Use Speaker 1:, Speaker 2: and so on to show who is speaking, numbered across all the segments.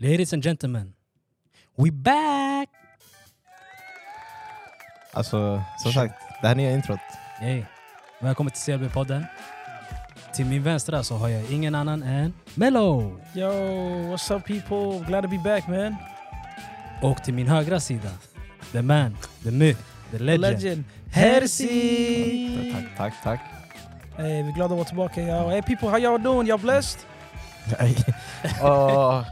Speaker 1: Ladies and gentlemen, we back!
Speaker 2: Alltså, som sagt, det här nya introt.
Speaker 1: Hey. Välkommen till CLB-podden. Till min vänstra så har jag ingen annan än Mello.
Speaker 3: Yo, what's up people? Glad to be back man.
Speaker 1: Och till min högra sida, the man, the myth, the legend,
Speaker 3: Legend.
Speaker 1: Hersi!
Speaker 2: Tack, tack, tack.
Speaker 3: Hey, vi är glada att vara tillbaka. Yo. Hey people, how y'all doing? Y'all blessed?
Speaker 2: Och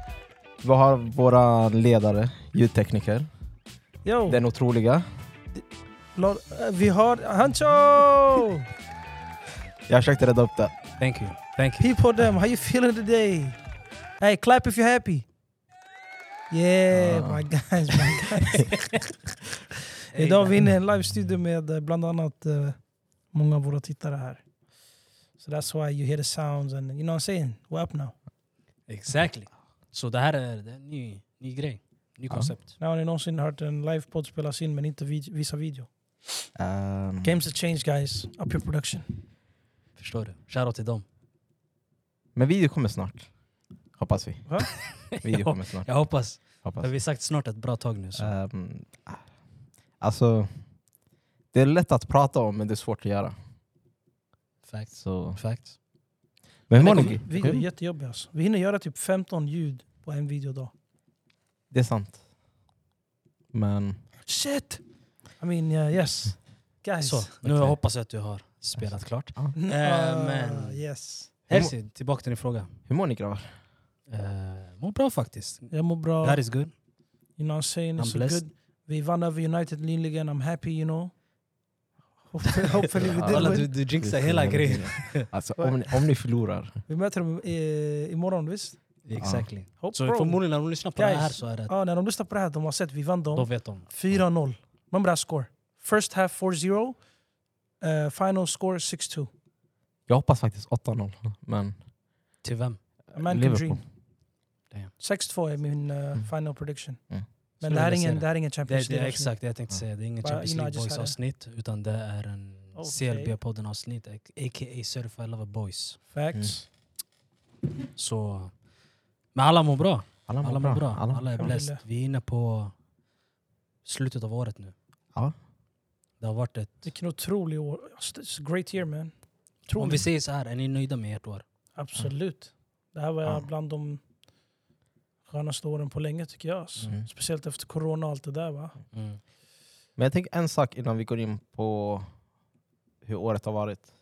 Speaker 2: vi har våra ledare, ljudtekniker,
Speaker 3: Yo,
Speaker 2: den otroliga.
Speaker 3: Lord, eh, vi har Hancho!
Speaker 2: Jag försökte rädda upp det.
Speaker 1: Thank you, thank you.
Speaker 3: people them, how you feeling today? Hey, clap if you're happy. Yeah,
Speaker 2: Ah.
Speaker 3: my guys, my guys. Idag är vi inne i en livestudio med eh, bland annat eh, många av våra tittare här. So that's why you hear the sounds and you know what I'm saying? We're up now.
Speaker 1: Exactly. Så det här är en ny, ny grej, ny koncept.
Speaker 3: Nu har ni någonsin hört en livepodd spelas in men inte vid- visa video.
Speaker 2: Ehm,
Speaker 3: Games have changed guys, up your production.
Speaker 1: Förstår du? Shoutout till dem.
Speaker 2: Men video kommer snart. Hoppas vi.
Speaker 3: Va?
Speaker 2: Video kommer snart.
Speaker 1: Jag hoppas,
Speaker 2: Hoppas.
Speaker 1: för vi har sagt snart ett bra tag nu. Så.
Speaker 2: Ehm, alltså, det är lätt att prata om men det är svårt att göra.
Speaker 1: Facts.
Speaker 2: Så.
Speaker 1: Facts.
Speaker 2: Men hur mår
Speaker 3: Men det
Speaker 2: ni?
Speaker 3: kommer- Video är jättejobbigt alltså. Vi hinner göra typ 15 ljud på en videodag.
Speaker 2: Det är sant. Men
Speaker 3: Shit! I mean uh, yes. Guys.
Speaker 1: Så, nu
Speaker 2: Okej.
Speaker 1: hoppas jag att du har spelat klart.
Speaker 3: Mm,
Speaker 1: Eh,
Speaker 3: ah,
Speaker 1: men-
Speaker 3: Yes.
Speaker 1: Hersi, tillbaka till din fråga.
Speaker 2: hur mår ni grabbar?
Speaker 1: Uh, mår bra faktiskt.
Speaker 3: Jag mår bra.
Speaker 1: That is good.
Speaker 3: you know what I'm saying? It's
Speaker 1: I'm
Speaker 3: so
Speaker 1: blessed.
Speaker 3: good. Vi vann över United nyligen. I'm happy you know. Hopefully, hopefully we
Speaker 2: Alla
Speaker 3: did
Speaker 1: du,
Speaker 3: win.
Speaker 1: du jinxar hela grejen.
Speaker 2: Alltså, om, ni, om ni förlorar,
Speaker 3: Vi möter dem eh, imorgon visst?
Speaker 1: Exactly.
Speaker 3: Hope,
Speaker 1: Så
Speaker 3: bro.
Speaker 1: förmodligen när de lyssnar på det här
Speaker 3: Guys.
Speaker 1: så är det
Speaker 3: Ja, när de lyssnar på det här, de har sett vi vann dem.
Speaker 1: då vet de.
Speaker 3: 4-0. Remember that score. First half 4-0. eh, final score 6-2.
Speaker 2: jag hoppas faktiskt 8-0. Men
Speaker 1: Till vem?
Speaker 3: A man can
Speaker 2: Liverpool.
Speaker 3: dream.
Speaker 1: Damn.
Speaker 3: 6-2 är min eh,
Speaker 2: Mm.
Speaker 3: final prediction.
Speaker 2: Mm.
Speaker 3: Men
Speaker 1: Så
Speaker 3: det här, är
Speaker 1: vill jag
Speaker 3: ingen,
Speaker 1: se
Speaker 3: det här är ingen
Speaker 1: Det, är-
Speaker 3: Champions
Speaker 1: det är
Speaker 3: League.
Speaker 1: exakt det jag tänkte säga. Det är inget
Speaker 3: Bara
Speaker 1: Champions
Speaker 3: innan
Speaker 1: League
Speaker 3: jag just
Speaker 1: Boys
Speaker 3: hade-
Speaker 1: avsnitt utan det är en
Speaker 3: Okej.
Speaker 1: CLB-podden avsnitt, a.k.a. Certified Lover Boys. Mm.
Speaker 3: Facts.
Speaker 1: Så... Men alla mår bra.
Speaker 2: alla mår
Speaker 1: Alla
Speaker 2: bra.
Speaker 1: mår bra.
Speaker 2: Alla,
Speaker 1: Alla är blessed. Vi är inne på slutet av året nu.
Speaker 2: Ja.
Speaker 1: Det har varit ett...
Speaker 3: Vilken otrolig år. Alltså, It's a great year man.
Speaker 1: Om vi
Speaker 3: Otroligt.
Speaker 1: säger så här, är ni nöjda med ert år?
Speaker 3: Absolut. Det här var
Speaker 2: Ja.
Speaker 3: bland de skönaste åren på länge tycker jag. Alltså.
Speaker 2: Mm.
Speaker 3: Speciellt efter corona och allt det där va.
Speaker 1: Mm.
Speaker 2: Men jag tänker en sak innan vi går in på hur året har varit.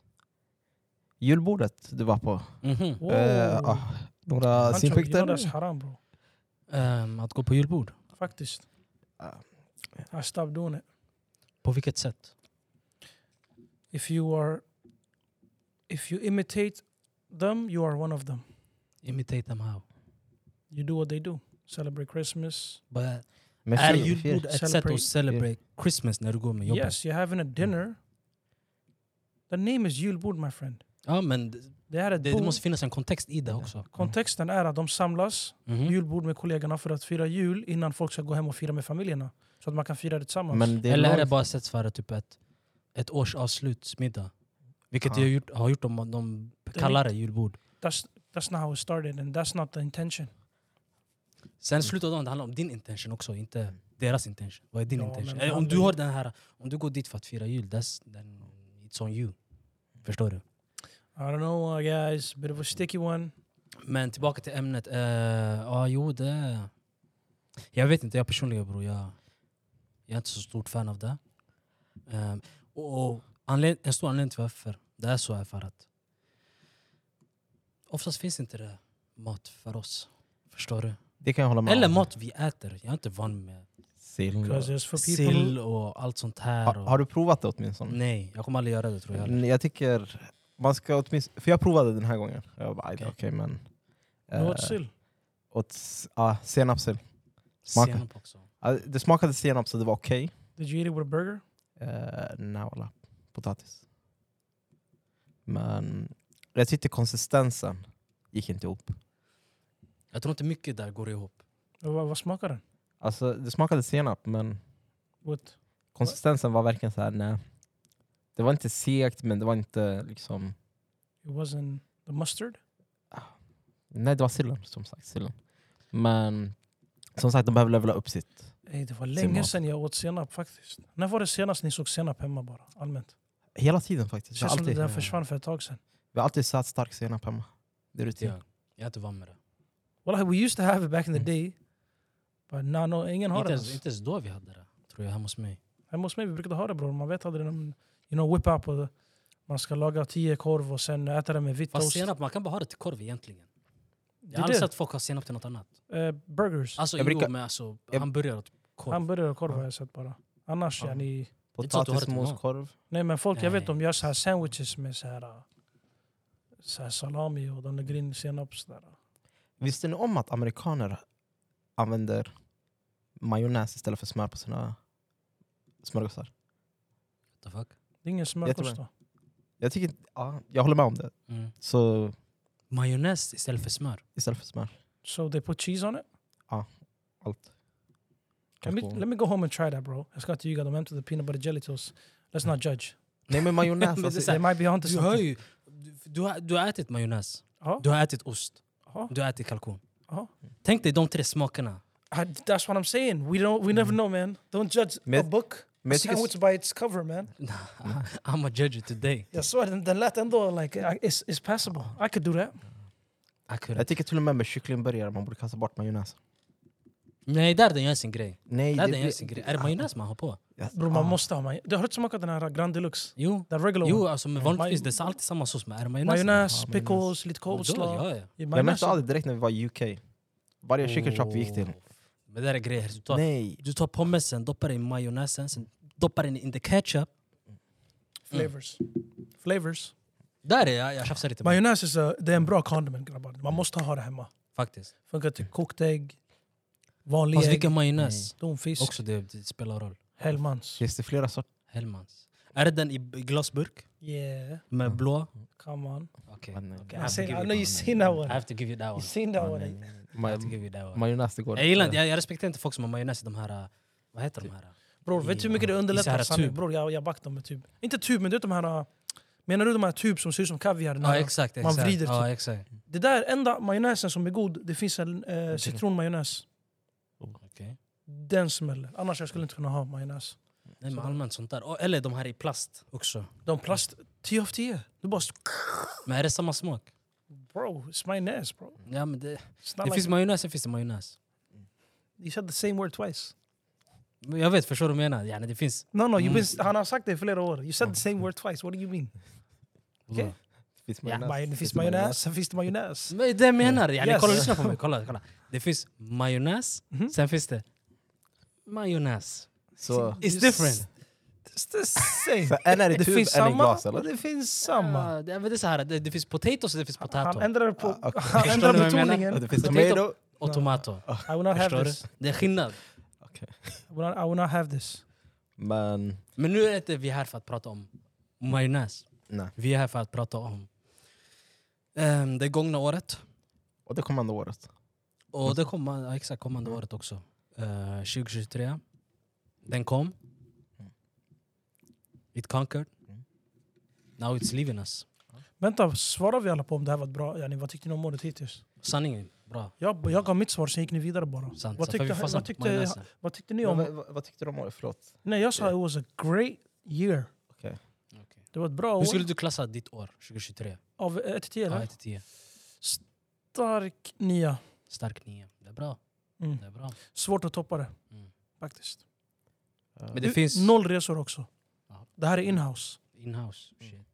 Speaker 2: Julbordet du var på.
Speaker 1: Mhm.
Speaker 3: Wow.
Speaker 2: Eh, ah, några
Speaker 3: Pancho, you know
Speaker 2: synpunkter?
Speaker 3: that's haram bro.
Speaker 1: Ehm, att gå på julbord?
Speaker 3: Faktiskt.
Speaker 2: Ah.
Speaker 3: I stopped doing it.
Speaker 1: På vilket sätt?
Speaker 3: if you are if you imitate them you are one of them
Speaker 1: Imitate them how?
Speaker 3: you do what they do celebrate christmas
Speaker 1: But
Speaker 2: Med
Speaker 1: Är
Speaker 2: fyr,
Speaker 1: julbord
Speaker 2: fyr.
Speaker 1: ett sätt
Speaker 3: Celebrate.
Speaker 1: att celebrate Christmas när du går med jobbet?
Speaker 3: yes you're having
Speaker 1: Mm.
Speaker 3: a dinner the name is julbord my friend
Speaker 1: Ja, men det,
Speaker 3: det här är ett
Speaker 1: det
Speaker 3: bord
Speaker 1: måste Mm. finnas en kontext i det också.
Speaker 3: kontexten är att de samlas
Speaker 1: Mhm.
Speaker 3: julbord med kollegorna för att fira jul innan folk ska gå hem och fira med familjerna så att man kan fira det tillsammans
Speaker 2: Men det är
Speaker 1: Eller är det
Speaker 2: långt-
Speaker 1: bara ett sätt för typ ett, ett års avslutsmiddag? Vilket
Speaker 2: Ja.
Speaker 1: jag gjort, har gjort om de kallar det julbord.
Speaker 3: that's, that's not how it started and that's not the intention Mm.
Speaker 1: Sen slutar det handlar om din intention också, inte deras intention. Vad är din
Speaker 3: Ja,
Speaker 1: intention?
Speaker 3: men
Speaker 1: Eh, Om
Speaker 3: han-
Speaker 1: du har den här, om du går dit för att fira jul, that's, then it's on you. Förstår du?
Speaker 3: I don't know uh, guys bit of a sticky one
Speaker 1: Men tillbaka till ämnet. Eh, ja, jo det... Jag vet inte, jag personligen bror, jag, jag är inte så stort fan av det. Ehm, och och anled, en stor anledning till varför det är så är för att oftast finns inte det mat för oss. Förstår du?
Speaker 2: det kan jag hålla med
Speaker 1: Eller
Speaker 2: om.
Speaker 1: mat vi äter. Jag är inte van med
Speaker 2: Sill.
Speaker 3: 'cause it's for people
Speaker 1: Mm. sill och allt sånt
Speaker 2: Har,
Speaker 1: här. Och,
Speaker 2: har du provat det åtminstone?
Speaker 1: Nej, jag kommer aldrig göra det tror jag.
Speaker 2: Mm, Jag tycker man ska åtminstone... För jag provade den här gången. Jag bara, okej men...
Speaker 3: Men what's
Speaker 1: uh,
Speaker 2: eh,
Speaker 3: still?
Speaker 2: åt s- ja, senapssill. smaka.
Speaker 1: Senap också.
Speaker 2: Ja, det smakade senap så det var okej.
Speaker 3: Did you eat it with a burger?
Speaker 2: Uh, Naola, potatis. Men jag tyckte konsistensen gick inte ihop.
Speaker 1: Jag tror inte mycket där går ihop.
Speaker 3: Vad, vad smakar den?
Speaker 2: Alltså det smakade senap men
Speaker 3: What?
Speaker 2: konsistensen var verkligen så här, nej. Det var inte segt men det var inte liksom...
Speaker 3: It wasn't the mustard?
Speaker 2: Nej det var sillen som sagt. Sillen. Men som sagt, de behöver levela upp sitt.
Speaker 3: Ey, det var
Speaker 2: Senap.
Speaker 3: länge sedan jag åt senap faktiskt. När var det senast ni såg senap hemma bara? Allmänt.
Speaker 2: Hela tiden faktiskt.
Speaker 3: Det
Speaker 2: Vi har
Speaker 3: känns som det
Speaker 2: alltid,
Speaker 3: där försvann för ett tag sedan.
Speaker 2: vi har alltid satt stark senap hemma. Det är rutin.
Speaker 1: Ja. Jag är inte van med det.
Speaker 3: Wallahi, we used to have it back in the
Speaker 2: Mm.
Speaker 3: day. But nah, no, ingen har
Speaker 1: Inte
Speaker 3: det.
Speaker 1: ens,
Speaker 3: alltså.
Speaker 1: inte ens då vi hade det, tror jag, hemma hos mig.
Speaker 3: Hemma hos mig vi brukade ha det bror. Man vet aldrig. när man- You know, whip up. Och man ska laga tio korv och sen äta det med vitt
Speaker 1: Fast
Speaker 3: toast.
Speaker 1: senap, man kan bara ha det till korv egentligen.
Speaker 3: Det
Speaker 1: Jag
Speaker 3: är
Speaker 1: har aldrig
Speaker 3: det.
Speaker 1: sett folk ha senap till något annat.
Speaker 3: Eh, burgers.
Speaker 1: Alltså, jo,
Speaker 2: Jag brukar-
Speaker 1: men alltså,
Speaker 2: jag-
Speaker 1: hamburgare och korv.
Speaker 3: Hamburgare och korv
Speaker 2: Ja.
Speaker 3: har jag sett bara. Annars,
Speaker 2: Ja.
Speaker 1: är
Speaker 3: yani,
Speaker 1: inte så att du har det till mat.
Speaker 2: Potatismoskorv.
Speaker 3: nej men folk jag
Speaker 1: Nej.
Speaker 3: vet de gör så här sandwiches med så här, eh, så här salami och de lägger in senap. Så där.
Speaker 2: Visste ni om att amerikaner använder majonnäs istället för smör på sina smörgåsar?
Speaker 1: What the fuck?
Speaker 3: Det är ingen smörgås
Speaker 2: Jättebra.
Speaker 3: då.
Speaker 2: Jag, tycker, inte- ja, jag håller med om det.
Speaker 1: Mm.
Speaker 2: Så
Speaker 1: Majonnäs istället för smör.
Speaker 2: istället för smör,
Speaker 3: So they put er cheese on it?
Speaker 2: allt.
Speaker 3: Can we,
Speaker 2: Kanske-
Speaker 3: let me go home and try that bro. Jag ska inte ljuga, de hämtade peanut butter jelly toast. Let's not judge.
Speaker 2: Nej men
Speaker 1: Men
Speaker 2: majonnäs,
Speaker 1: det är
Speaker 2: alltså,
Speaker 1: så
Speaker 3: They
Speaker 1: här-
Speaker 3: might be onto
Speaker 1: Du har
Speaker 3: something.
Speaker 1: ju... Du, du, har, du har ätit majonnäs,
Speaker 3: typ- Ja,
Speaker 1: du har ätit ost,
Speaker 3: ja.
Speaker 1: du har ätit kalkon.
Speaker 3: Ja.
Speaker 1: Tänk dig de tre smakerna.
Speaker 3: I- That's what I'm saying. We don't. We never know man. Don't judge a
Speaker 2: Men-
Speaker 3: book.
Speaker 2: men
Speaker 3: a
Speaker 2: jag tycker-
Speaker 3: sandwich by its cover man.
Speaker 1: I'm a judge you today.
Speaker 3: Jag svär, den, den lät ändå like, I- it's, it's passable. I could do that.
Speaker 1: I couldn't.
Speaker 2: jag tycker till och med med kycklingburgare man borde kasta bort majonnäs.
Speaker 1: Nej, där den gör sin grej.
Speaker 2: Nej,
Speaker 1: Där den
Speaker 2: blir-
Speaker 1: gör sin grej. Är det majonnäs man har på?
Speaker 2: Yes.
Speaker 3: Bror, man
Speaker 2: Ah.
Speaker 3: måste ha maj- Du har inte smakat den här Grand Deluxe?
Speaker 1: Jo.
Speaker 3: Den regular
Speaker 1: Jo,
Speaker 3: one.
Speaker 1: alltså, men vanligtvis det är alltid samma sås. Men är det majonnäs?
Speaker 3: Majonnäs,
Speaker 2: Ja,
Speaker 3: pickles, lite
Speaker 1: Då-
Speaker 3: coleslaw.
Speaker 1: Ja, ja.
Speaker 3: Ja,
Speaker 2: Jag
Speaker 3: majonnäs.
Speaker 2: märkte aldrig direkt när vi var i UK. Varje chicken shop vi gick till.
Speaker 1: Oh. Men det där är grejer. Du tar,
Speaker 2: Nej,
Speaker 1: du tar pommesen, doppar den i majonnäsen, sen doppar den in the ketchup.
Speaker 3: Flavors. Flavors.
Speaker 1: Där är jag, jag tjafsar lite med
Speaker 3: Majonnäs is a, det är en bra
Speaker 1: Mm.
Speaker 3: condiment grabbar. Man måste ha det hemma.
Speaker 1: faktiskt.
Speaker 3: Funkar till kokt ägg, vanlig
Speaker 1: Mm. Fast
Speaker 3: ägg,
Speaker 1: vilken majonnäs?
Speaker 3: domfisk,
Speaker 1: Också det, det spelar roll.
Speaker 3: hellmans.
Speaker 2: finns det flera sorter?
Speaker 1: Hellmans. Är det den i b- glasburk?
Speaker 3: Yeah,
Speaker 1: Med
Speaker 2: Ja.
Speaker 1: blå?
Speaker 3: come on.
Speaker 1: Okej.
Speaker 2: Ah, nej.
Speaker 1: Okej, alltså, I, have to
Speaker 3: I, say, I
Speaker 1: give you
Speaker 3: know you
Speaker 1: that
Speaker 3: seen that
Speaker 1: one. I
Speaker 3: one.
Speaker 1: have to give you that
Speaker 3: You
Speaker 1: one.
Speaker 3: seen that
Speaker 2: Ah,
Speaker 3: one.
Speaker 2: nej,
Speaker 3: eh?
Speaker 2: nej, nej.
Speaker 1: I have to
Speaker 2: Maj-
Speaker 1: give you that one.
Speaker 2: Majonnäs, det går
Speaker 1: Jag gillar inte, jag, jag respekterar inte folk som har majonnäs i de här... äh, Vad heter de här? äh?
Speaker 3: Bror, vet du hur mycket
Speaker 1: I så
Speaker 3: det
Speaker 1: här
Speaker 3: underlättar sanning?
Speaker 1: tub.
Speaker 3: Bror, jag, jag backar dem med tub. Inte tub, men du vet de här... äh, Menar du de här tub som ser ut som kaviar?
Speaker 1: Ja
Speaker 3: när-
Speaker 1: exakt,
Speaker 3: man
Speaker 1: exakt.
Speaker 3: vrider
Speaker 1: ja, exakt.
Speaker 3: Det där enda majonnäsen som är god, det finns en eh, citronmajonnäs.
Speaker 1: Okej.
Speaker 3: Den smäller. Annars jag skulle inte kunna ha majonnäs.
Speaker 1: Nej men allmänt sånt där. Och- Eller de här i plast också.
Speaker 3: De plast, 10 av 10. Du bara... st-
Speaker 1: Men är det samma smak?
Speaker 3: Bro, it's majonnäs bro.
Speaker 1: Ja, men det,
Speaker 3: It's
Speaker 1: det
Speaker 3: not
Speaker 1: finns
Speaker 3: like,
Speaker 1: majonnäs, sen finns det majonnäs.
Speaker 3: you said the same word twice.
Speaker 1: Men Jag vet, förstår du vad jag menar? Yani, det finns...
Speaker 3: No, no, you've
Speaker 1: Mm.
Speaker 3: been, han har sagt det i flera år. You said
Speaker 2: Mm.
Speaker 3: the same word twice, what do you mean?
Speaker 1: Mm.
Speaker 3: Okej.
Speaker 2: Det finns
Speaker 3: Ja,
Speaker 2: majonnäs.
Speaker 3: maj- det finns majonnäs, sen finns det majonnäs.
Speaker 1: Men det är det jag menar! Yani,
Speaker 3: Yes.
Speaker 1: Kolla, lyssna på mig. Kolla, kolla. Det finns majonnäs,
Speaker 3: Mhm.
Speaker 1: sen finns det majonnäs.
Speaker 2: Så,
Speaker 1: It's different.
Speaker 3: It's the same.
Speaker 2: så en är i
Speaker 3: Det
Speaker 2: tub,
Speaker 3: finns
Speaker 2: en är i
Speaker 3: samma
Speaker 2: glas
Speaker 3: och
Speaker 2: eller?
Speaker 3: det finns samma.
Speaker 1: Ja, det, men det, är så här, det, det finns potatoes och det finns potato.
Speaker 3: Han ändrar på...
Speaker 2: Ah, okej.
Speaker 3: Han
Speaker 1: Förstår du vad
Speaker 3: ändrar
Speaker 1: jag menar?
Speaker 2: Ja,
Speaker 3: betoningen.
Speaker 2: Det finns
Speaker 1: Potato.
Speaker 2: tomato.
Speaker 1: och tomato.
Speaker 3: I will not
Speaker 1: Förstår
Speaker 3: have
Speaker 1: du?
Speaker 3: this.
Speaker 1: Det är skillnad.
Speaker 3: I will not, I will not have this.
Speaker 2: Men
Speaker 1: Men nu är inte vi här för att prata om majonnäs.
Speaker 2: nej.
Speaker 1: Vi är här för att prata om ehm, det gångna året.
Speaker 2: Och det kommande året.
Speaker 1: Och det kommer, ja, exakt kommande
Speaker 2: Mm.
Speaker 1: året också. Eh, 2023. Den kom.
Speaker 3: Mm.
Speaker 1: It conquered.
Speaker 2: Mm.
Speaker 1: Now it's leaving us.
Speaker 3: Vänta, svarar vi alla på om det här var ett bra? Yani, vad tyckte ni om året hittills?
Speaker 1: Sanningen, bra.
Speaker 3: Jag, jag gav mitt svar, sen gick ni vidare bara.
Speaker 1: Sant.
Speaker 3: Vad
Speaker 1: Så för vi
Speaker 3: tyckte,
Speaker 1: fastnar på
Speaker 3: vad, tyckte,
Speaker 1: majonnäsen.
Speaker 3: vad tyckte ni
Speaker 2: Men,
Speaker 3: om...
Speaker 2: vad, vad, vad tyckte du om året? Förlåt.
Speaker 3: Nej, jag sa it was a great year.
Speaker 2: Okej.
Speaker 1: Okej.
Speaker 3: Det var ett bra år.
Speaker 1: Hur skulle du klassa ditt år 2023?
Speaker 3: Av 1 till 10
Speaker 1: Ja,
Speaker 3: eller?
Speaker 1: 1 till 10.
Speaker 3: Stark nia.
Speaker 1: Stark 9. Det är bra.
Speaker 3: Mm.
Speaker 1: Det är bra.
Speaker 3: Svårt att toppa det.
Speaker 1: Mm.
Speaker 3: Faktiskt.
Speaker 1: Eh, Men det
Speaker 3: U-
Speaker 1: finns
Speaker 3: Noll resor också.
Speaker 1: Ja. Mm.
Speaker 3: Det här är inhouse.
Speaker 1: inhouse shit.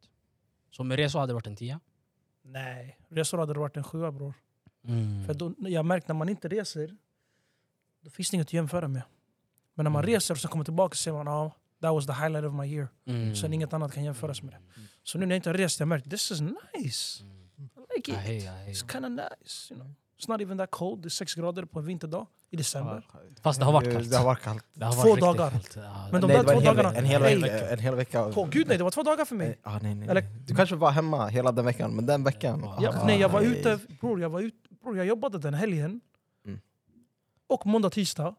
Speaker 1: Så med resor hade det varit en 10?
Speaker 3: Nej, resor hade det varit en sjua bror.
Speaker 1: Mm.
Speaker 3: För då, jag har märkt när man inte reser, då finns det inget att jämföra med. Men när man
Speaker 1: Mm.
Speaker 3: reser och sen kommer tillbaka så säger man ah, that was the highlight of my year.
Speaker 1: Mm.
Speaker 3: Sen inget annat kan jämföras med det. Så nu när jag inte har rest, jag har märkt this is nice.
Speaker 1: Mm.
Speaker 3: I like
Speaker 1: I
Speaker 3: it.
Speaker 1: hear you, I hear you.
Speaker 3: It's kind of nice. You know. It's not even that cold. Det är 6 grader på en vinterdag i december.
Speaker 1: Fast det har varit
Speaker 2: Det har
Speaker 1: kallt.
Speaker 2: varit kallt.
Speaker 1: Det har
Speaker 3: Två
Speaker 1: varit riktigt
Speaker 3: dagar.
Speaker 1: kallt. Ja,
Speaker 3: Men de
Speaker 1: nej,
Speaker 3: där
Speaker 1: det var
Speaker 3: två
Speaker 1: en hel
Speaker 3: dagarna-
Speaker 1: vecka.
Speaker 2: En hel,
Speaker 3: Nej,
Speaker 2: vecka. En hel vecka.
Speaker 3: Åh gud nej, det var två dagar för mig.
Speaker 2: Ah, nej, nej.
Speaker 3: Eller-
Speaker 2: Du kanske var hemma hela den veckan, men den veckan...
Speaker 1: Ja,
Speaker 3: Ja,
Speaker 2: ah,
Speaker 3: nej, jag var
Speaker 2: nej.
Speaker 3: ute, bror jag, var ut, bror, jag jobbade den helgen.
Speaker 2: Mm.
Speaker 3: Och måndag, tisdag.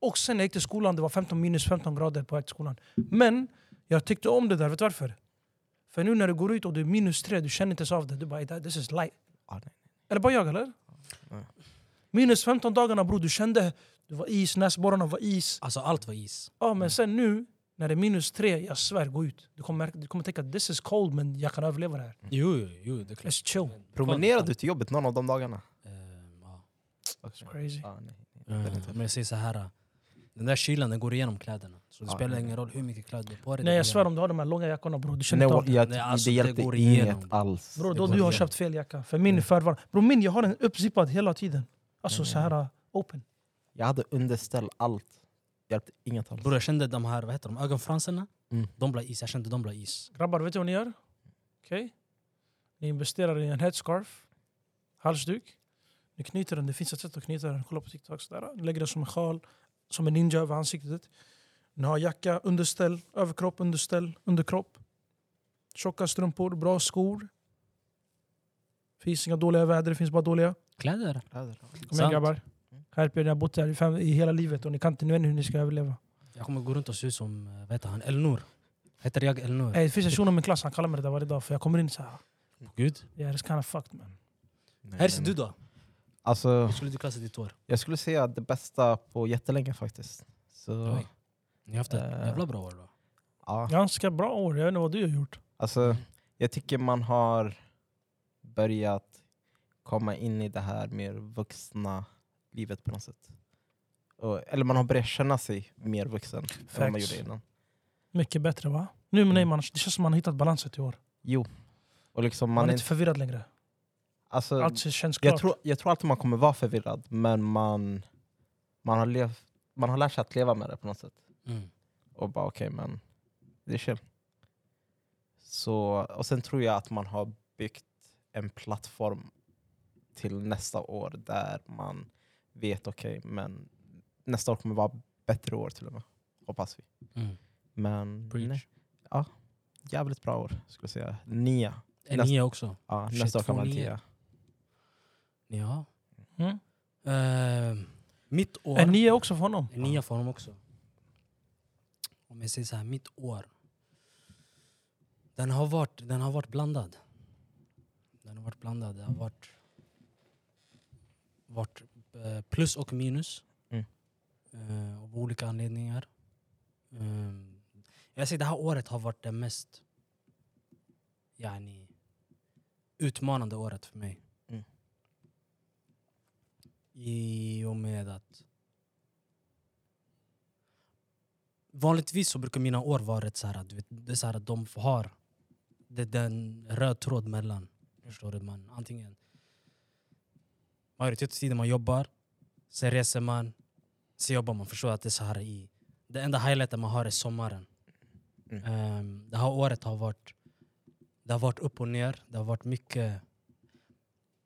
Speaker 3: Och sen när jag gick till skolan, det var 15 minus 15 grader på väg till skolan. Men jag tyckte om det där, vet du varför? För nu när du går ut och det är minus tre, du känner inte ens av det. Du bara, "Ey, this is light.
Speaker 2: Ah, nej.
Speaker 3: Eller bara jag eller? Minus 15 dagarna bror, du kände det var is, näsborrarna var is.
Speaker 1: Alltså allt var is.
Speaker 3: Ja,
Speaker 2: Mm.
Speaker 3: men sen nu, när det är minus tre, jag svär, gå ut. Du kommer, märka- du kommer tänka this is cold, men jag kan överleva det här.
Speaker 2: Mm.
Speaker 1: Jo, jo, jo det är klart.
Speaker 3: Let's chill.
Speaker 2: Promenerade du till jobbet någon av de dagarna?
Speaker 1: Ehm, ja.
Speaker 3: Crazy.
Speaker 2: Ja, nej.
Speaker 1: Eh, Men jag säger så här. eh, Den där kylan den går igenom kläderna. Så det
Speaker 2: Ja,
Speaker 1: spelar
Speaker 2: ja.
Speaker 1: ingen roll hur mycket kläder du har på dig.
Speaker 3: Nej,
Speaker 1: det
Speaker 3: jag
Speaker 1: går
Speaker 3: svär
Speaker 1: igenom.
Speaker 3: om du har de här långa jackorna bror, du känner
Speaker 2: Nej,
Speaker 3: inte av
Speaker 2: jag,
Speaker 3: det.
Speaker 1: Nej, alltså,
Speaker 2: det
Speaker 1: det
Speaker 2: hjälpte
Speaker 1: går igenom.
Speaker 2: inget alls.
Speaker 3: Bror,
Speaker 1: det
Speaker 3: då
Speaker 1: går
Speaker 3: du har
Speaker 1: igenom.
Speaker 3: köpt fel jacka. För min är förvarnad. Bror, min jag har den uppzippad hela tiden. Alltså
Speaker 2: Mm.
Speaker 3: så här open.
Speaker 2: Jag hade underställ allt. Hjälpte inget alls.
Speaker 1: Bror jag kände de här, vad heter de, ögonfransarna.
Speaker 2: Mm.
Speaker 1: De blev is. Jag kände de blev is.
Speaker 3: Grabbar, vet du vad ni gör? Okej? Ni investerar i en headscarf, halsduk. Ni knyter den, det finns ett sätt att knyta den. Kolla på TikTok. Sådär. Ni lägger den som en sjal, som en ninja över ansiktet. Ni har jacka, underställ, överkropp, underställ, underkropp. Tjocka strumpor, bra skor. Finns inga dåliga väder, det finns bara dåliga.
Speaker 1: Kläder?
Speaker 3: Kom igen
Speaker 1: Sant.
Speaker 3: grabbar. Skärp er, ni har bott här i, fem, i hela livet och ni kan inte, ni vet inte hur ni ska överleva.
Speaker 1: Jag kommer gå runt och se ut som, eh, vad heter han, Elnor. Heter jag Elnor?
Speaker 3: Hey, det finns en shuno Eh, i min klass, han kallar mig det där varje dag för jag kommer in såhär.
Speaker 1: Gud.
Speaker 3: Yeah, it's kind of fucked man.
Speaker 1: Här ser du då.
Speaker 2: Alltså,
Speaker 1: Hur skulle du klassa ditt hår?
Speaker 2: jag skulle säga det bästa på jättelänge faktiskt. Så,
Speaker 1: Oj. Ni har haft ett
Speaker 2: Eh.
Speaker 1: jävla bra år då.
Speaker 2: ja.
Speaker 3: Ganska bra år, jag vet inte vad du har gjort.
Speaker 2: Alltså, jag tycker man har börjat komma in i det här mer vuxna livet på något sätt. Och, eller man har börjat känna sig mer vuxen än vad man
Speaker 3: Facts.
Speaker 2: gjorde innan.
Speaker 3: Mycket bättre va? Nu
Speaker 1: Mm.
Speaker 3: men nej, man, det känns som man har hittat balansen i år.
Speaker 2: Jo. Och liksom
Speaker 3: Man
Speaker 2: man
Speaker 3: är
Speaker 2: är,
Speaker 3: inte förvirrad längre.
Speaker 2: alltså,
Speaker 3: Allt känns klart.
Speaker 2: jag, tror, jag tror alltid man kommer vara förvirrad, men man, man, har, lev, man har lärt sig att leva med det på något sätt.
Speaker 1: Mm.
Speaker 2: och bara okej men det är chill. Så, och sen tror jag att man har byggt en plattform till nästa år där man vet okej men nästa år kommer vara bättre år till och med. Hoppas vi.
Speaker 1: Mm.
Speaker 2: Men nej,
Speaker 1: Preach.
Speaker 2: jävligt bra år skulle jag säga. Nia.
Speaker 1: Är
Speaker 2: Nästa-
Speaker 1: ni också?
Speaker 2: Ja,
Speaker 1: Shit,
Speaker 2: nästa år kan vara en
Speaker 1: 2-9.
Speaker 2: tia.
Speaker 1: Ja.
Speaker 3: Mm.
Speaker 1: Ehm, mitt år... Mm.
Speaker 3: Är ni också för honom?
Speaker 1: En nia för honom också. Om jag säger så här, mitt år. Den har varit, den har varit blandad. Den har varit blandad. Det har varit, varit eh, plus och minus.
Speaker 2: Mm.
Speaker 1: Eh, av olika anledningar. Ehm, jag säger det här året har varit det mest yani, utmanande året för mig.
Speaker 2: Mm.
Speaker 1: I och med att Vanligtvis så brukar mina år vara rätt så här, du vet, det är så här att de har det, det är en röd tråd mellan. Förstår du? Man, antingen majoriteten av tiden man jobbar, sen reser man, sen jobbar man. Förstår du att det är så här i... Det enda highlighten man har är sommaren.
Speaker 2: Mm.
Speaker 1: Ehm, det här året har varit, det har varit upp och ner. Det har varit mycket,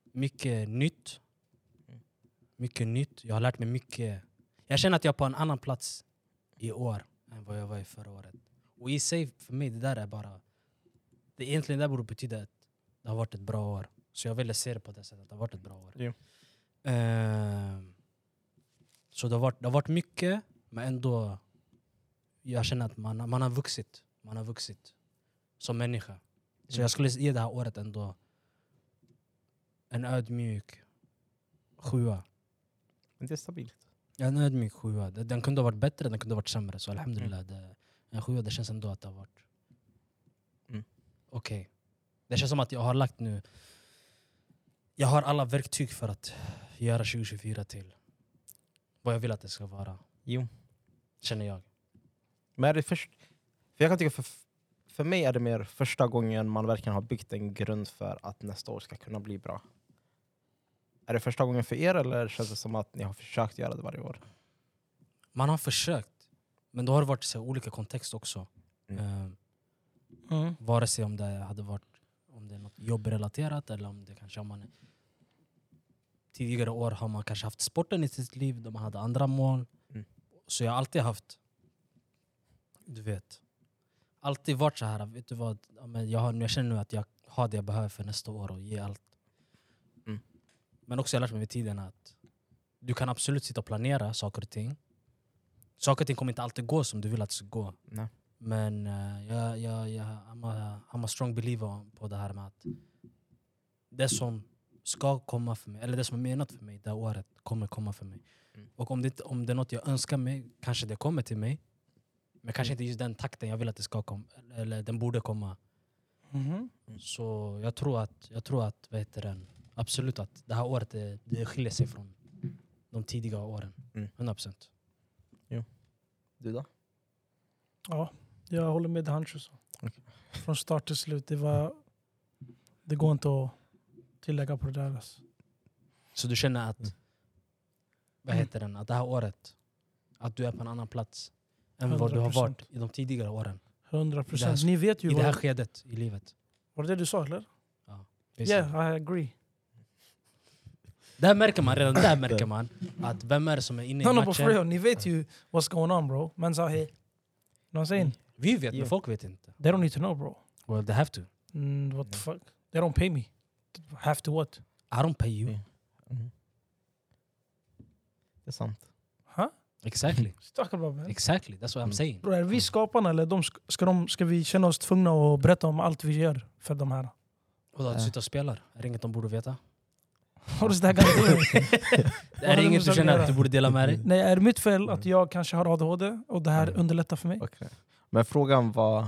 Speaker 1: mycket nytt.
Speaker 2: Mm.
Speaker 1: Mycket nytt. Jag har lärt mig mycket. Jag känner att jag är på en annan plats i år än vad jag var i förra året. Och i sig, för mig, det där är bara... Det egentligen där borde betyda att det har varit ett bra år. Så jag ville se det på det sättet, att det har varit ett bra år.
Speaker 2: Jo.
Speaker 1: Ehm, så det har, varit, det har varit mycket, men ändå... Jag känner att man, har- man har vuxit. Man har vuxit som människa. Så
Speaker 2: Mm.
Speaker 1: jag skulle ge det här året ändå en ödmjuk sjua.
Speaker 2: Men det är stabilt.
Speaker 1: Jag är nöjd med min sjua. Den den kunde ha varit bättre, den kunde ha varit sämre. Så alhamdulillah, det, en sjua det känns ändå att det har varit
Speaker 2: Mm.
Speaker 1: okej. Det känns som att jag har lagt nu... Jag har alla verktyg för att göra 2024 till vad jag vill att det ska vara,
Speaker 2: Jo.
Speaker 1: känner jag.
Speaker 2: Men är det först, för jag kan tycka för, för mig är det mer första gången man verkligen har byggt en grund för att nästa år ska kunna bli bra. Är det första gången för er eller känns det som att ni har försökt göra det varje år?
Speaker 1: Man har försökt, men då har det varit i olika kontext också.
Speaker 2: Mm.
Speaker 1: Eh,
Speaker 3: Mm.
Speaker 1: Vare sig om det hade varit om det är något jobbrelaterat eller om det kanske om man Tidigare år har man kanske haft sporten i sitt liv, de hade andra mål.
Speaker 2: Mm.
Speaker 1: Så jag har alltid haft, du vet, alltid varit så här, vet du vad, ja, men jag, har, jag känner nu att jag har det jag behöver för nästa år och ge allt.
Speaker 2: Mm.
Speaker 1: Men också jag har lärt mig med tiden att du kan absolut sitta och planera saker och ting. Saker och ting kommer inte alltid gå som du vill att det ska gå.
Speaker 2: Nej.
Speaker 1: Men eh, jag, jag, jag I'm, a, I'm a strong believer på det här med att det som ska komma för mig, eller det som är menat för mig det här året kommer komma för mig.
Speaker 2: Mm.
Speaker 1: Och om det, inte- om det är något jag önskar mig, kanske det kommer till mig. Men kanske inte just den takten jag vill att det ska komma, eller den borde komma.
Speaker 3: Mhm.
Speaker 1: Så jag tror att, jag tror att vad heter den? absolut att det här året det, det skiljer sig från de tidiga åren.
Speaker 2: Mm.
Speaker 1: 100%.
Speaker 2: Du då?
Speaker 3: Ja, jag håller med det Hancho sa. Från start till slut, det var... Det går inte att tillägga på det där. Alltså.
Speaker 1: Så du känner att, vad
Speaker 2: Mm.
Speaker 1: heter den, att det här året, att du är på en annan plats än vad du har
Speaker 3: 100%.
Speaker 1: varit i de tidigare åren.
Speaker 3: 100
Speaker 1: Det
Speaker 3: procent.
Speaker 1: här-
Speaker 3: Ni vet ju
Speaker 1: I det här
Speaker 3: vad...
Speaker 1: skedet i livet.
Speaker 3: Var det det du sa eller? Yeah, I agree.
Speaker 1: Där märker man redan, där märker man att vem är det som är inne
Speaker 3: No,
Speaker 1: i
Speaker 3: no, but for
Speaker 1: matchen.
Speaker 3: real, ni vet ju what's going on bro. Men sa hej. You know what I'm
Speaker 2: Mm.
Speaker 3: saying?
Speaker 1: Vi vet, men
Speaker 2: Yeah.
Speaker 1: folk vet inte.
Speaker 3: They don't need to know bro.
Speaker 1: Well, they have to.
Speaker 3: Mm, what the
Speaker 2: Yeah.
Speaker 3: fuck? They don't pay me. Have to what?
Speaker 1: I don't pay you.
Speaker 2: Yeah. Det är sant.
Speaker 1: Exactly.
Speaker 3: What you talking about man?
Speaker 1: Exactly, that's what I'm
Speaker 2: Mm.
Speaker 1: saying.
Speaker 3: Bro, är vi skaparna eller de, sk- ska, de, ska vi känna oss tvungna att berätta om allt vi gör för de här?
Speaker 1: Och att du
Speaker 2: Ja.
Speaker 1: sitter och spelar, är det inget de borde veta?
Speaker 3: What is that gonna do?
Speaker 1: Är
Speaker 3: hade
Speaker 1: det
Speaker 3: de
Speaker 1: inget du
Speaker 3: själv
Speaker 1: känner att
Speaker 3: göra?
Speaker 1: du borde dela med dig?
Speaker 3: Nej, är det mitt fel
Speaker 2: Mm.
Speaker 3: att jag kanske har ADHD och det här
Speaker 2: Mm.
Speaker 3: underlättar för mig?
Speaker 2: Okej. Men frågan var...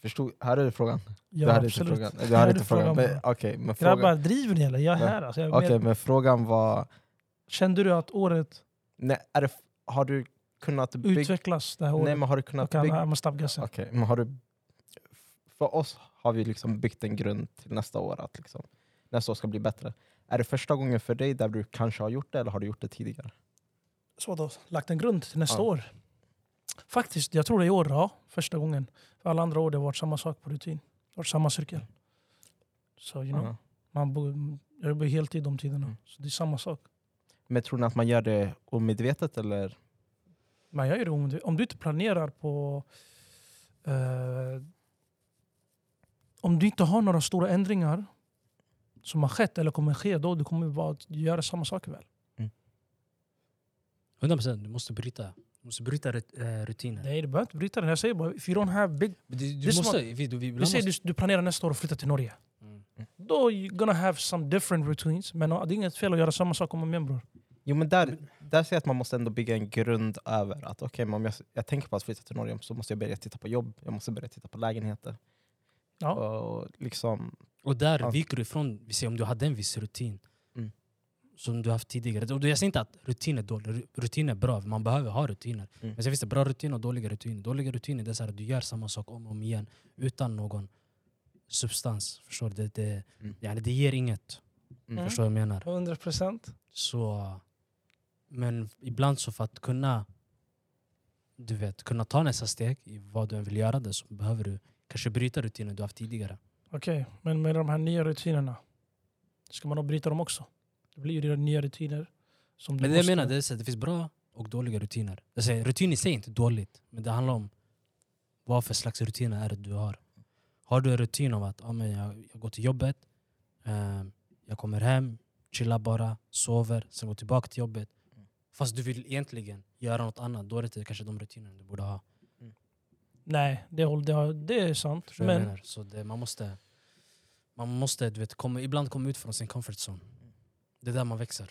Speaker 2: Förstod, här är det frågan.
Speaker 3: Ja,
Speaker 2: du hade inte frågan. Du
Speaker 3: Här
Speaker 2: hade
Speaker 3: är
Speaker 2: inte
Speaker 3: det
Speaker 2: frågan.
Speaker 3: frågan
Speaker 2: Men, okej, men frågan,
Speaker 3: Grabbar, driver ni eller? Jag är
Speaker 2: Nej.
Speaker 3: här. Alltså, jag är
Speaker 2: okej,
Speaker 3: med.
Speaker 2: men frågan var...
Speaker 3: Kände du att året
Speaker 2: Nej, är det, f- har du kunnat bygga...
Speaker 3: utvecklas det här året?
Speaker 2: Nej, men har du kunnat
Speaker 3: Okej,
Speaker 2: bygga...
Speaker 3: I must stop guessing.
Speaker 2: Okej, men har du... För oss har vi liksom byggt en grund till nästa år, att liksom, nästa år ska bli bättre. Är det första gången för dig där du kanske har gjort det, eller har du gjort det tidigare?
Speaker 3: Så då, lagt en grund till nästa
Speaker 2: Ja.
Speaker 3: år. Faktiskt, jag tror det är i år, ja. Första gången. För alla andra år det har varit samma sak på rutin. Det har varit samma cirkel. Så you know,
Speaker 2: Ja.
Speaker 3: man bo, jag jobbar heltid de tiderna.
Speaker 2: Mm.
Speaker 3: Så det är samma sak.
Speaker 2: Men tror ni att man gör det omedvetet, eller?
Speaker 3: Men jag gör det om du, om du inte planerar på... eh, om du inte har några stora ändringar som har skett eller kommer ske då, du kommer bara att göra samma sak väl.
Speaker 1: 100%, du måste bryta. Du måste bryta rut- eh, rutiner.
Speaker 3: Nej, du behöver inte bryta den. Jag säger bara, if you don't have big...
Speaker 1: Men Du,
Speaker 3: Det är
Speaker 1: du
Speaker 3: som
Speaker 1: måste, vi, du, vi,
Speaker 3: Vi säger
Speaker 1: måste,
Speaker 3: du, du planerar nästa år att flytta till Norge.
Speaker 1: Mm.
Speaker 3: Då you're gonna have some different routines. Men det är inget fel att göra samma sak om och om bror.
Speaker 2: Jo, men där, där ser jag att man måste ändå bygga en grund över att okej, men om jag, jag tänker på att flytta till Norge så måste jag börja titta på jobb, jag måste börja titta på lägenheter.
Speaker 3: Ja.
Speaker 2: Och liksom,
Speaker 1: Och där
Speaker 2: Ja.
Speaker 1: viker du ifrån, vi säger om du hade en viss rutin
Speaker 2: Mm.
Speaker 1: som du haft tidigare. Och jag säger inte att rutin är dålig, Ru- rutin är bra, man behöver ha rutiner.
Speaker 2: Mm.
Speaker 1: Men sen finns det bra rutiner och dåliga rutiner. Dåliga rutiner det är så här, att du gör samma sak om och om igen utan någon substans. Förstår du? Det, det,
Speaker 2: Mm.
Speaker 1: yani, det ger inget.
Speaker 2: Mm.
Speaker 1: Förstår du vad jag menar?
Speaker 3: 100 procent.
Speaker 1: Så, men ibland så för att kunna du vet, kunna ta nästa steg i vad du än vill göra det så behöver du kanske bryta rutiner du haft tidigare.
Speaker 3: Okej, men med de här nya rutinerna, ska man då bryta dem också? Det blir ju redan nya rutiner. Som du
Speaker 1: Men det jag
Speaker 3: måste-
Speaker 1: menar det är så att det finns bra och dåliga rutiner. Jag säger, rutin i sig är inte dåligt, men det handlar om vad för slags rutiner är det du har. Har du en rutin om att ah, men jag, jag går till jobbet, eh, jag kommer hem, chillar bara, sover, sen går tillbaka till jobbet. Fast du vill egentligen göra något annat, då är det inte kanske de rutinerna du borde ha.
Speaker 3: Nej, det, håll- det, har- det är sant.
Speaker 1: Förstår du vad jag
Speaker 3: Men
Speaker 1: menar? Så det, man måste, man måste du vet, komma, ibland komma ut från sin comfort zone. Det är där man växer.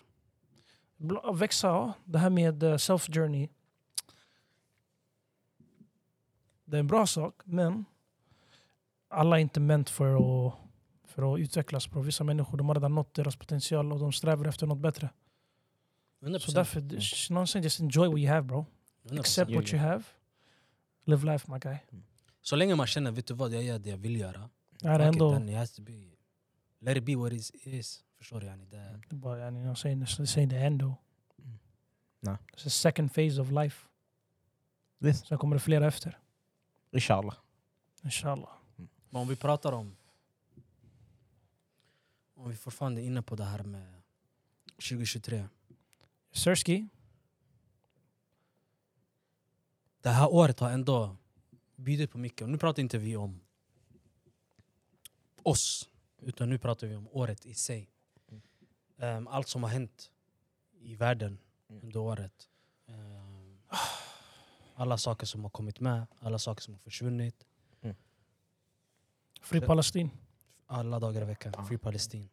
Speaker 3: bl- växa, ja. det här med eh, self-journey. Det är en bra sak, men alla är inte meant för att, för att utvecklas. Bro. Vissa människor de har redan nått deras potential och de strävar efter något bättre.
Speaker 1: 100%.
Speaker 3: Så därför, någonsin just enjoy what you have bro.
Speaker 1: 100%.
Speaker 3: Accept
Speaker 2: Ja,
Speaker 3: what
Speaker 2: ja.
Speaker 3: you have. Live life my guy.
Speaker 1: Så länge man känner, vet du vad, jag gör det jag vill göra.
Speaker 3: Det här är
Speaker 1: Fuck it,
Speaker 3: ändå...
Speaker 1: then it has to be, let it be what it is. Förstår du? Yani? Det,
Speaker 3: Det är bara, yani, you know, saying, it's- it's saying the end though.
Speaker 2: Mm. Nej.
Speaker 3: It's the second phase of life.
Speaker 2: Visst.
Speaker 3: Sen kommer det flera efter.
Speaker 2: inshallah.
Speaker 3: Inshallah.
Speaker 1: men om vi pratar om... Om vi fortfarande är inne på det här med 2023.
Speaker 3: Sersky,
Speaker 1: Det här året har ändå bjudit på mycket. Och nu pratar inte vi om oss, utan nu pratar vi om året i sig.
Speaker 2: Mm.
Speaker 1: Ehm, allt som har hänt i världen
Speaker 2: Mm.
Speaker 1: under året. Ehm, alla saker som har kommit med, alla saker som har försvunnit.
Speaker 3: Free
Speaker 1: Så-
Speaker 3: Palestine.
Speaker 1: Alla dagar i veckan.
Speaker 2: Ja.
Speaker 1: Free Palestine.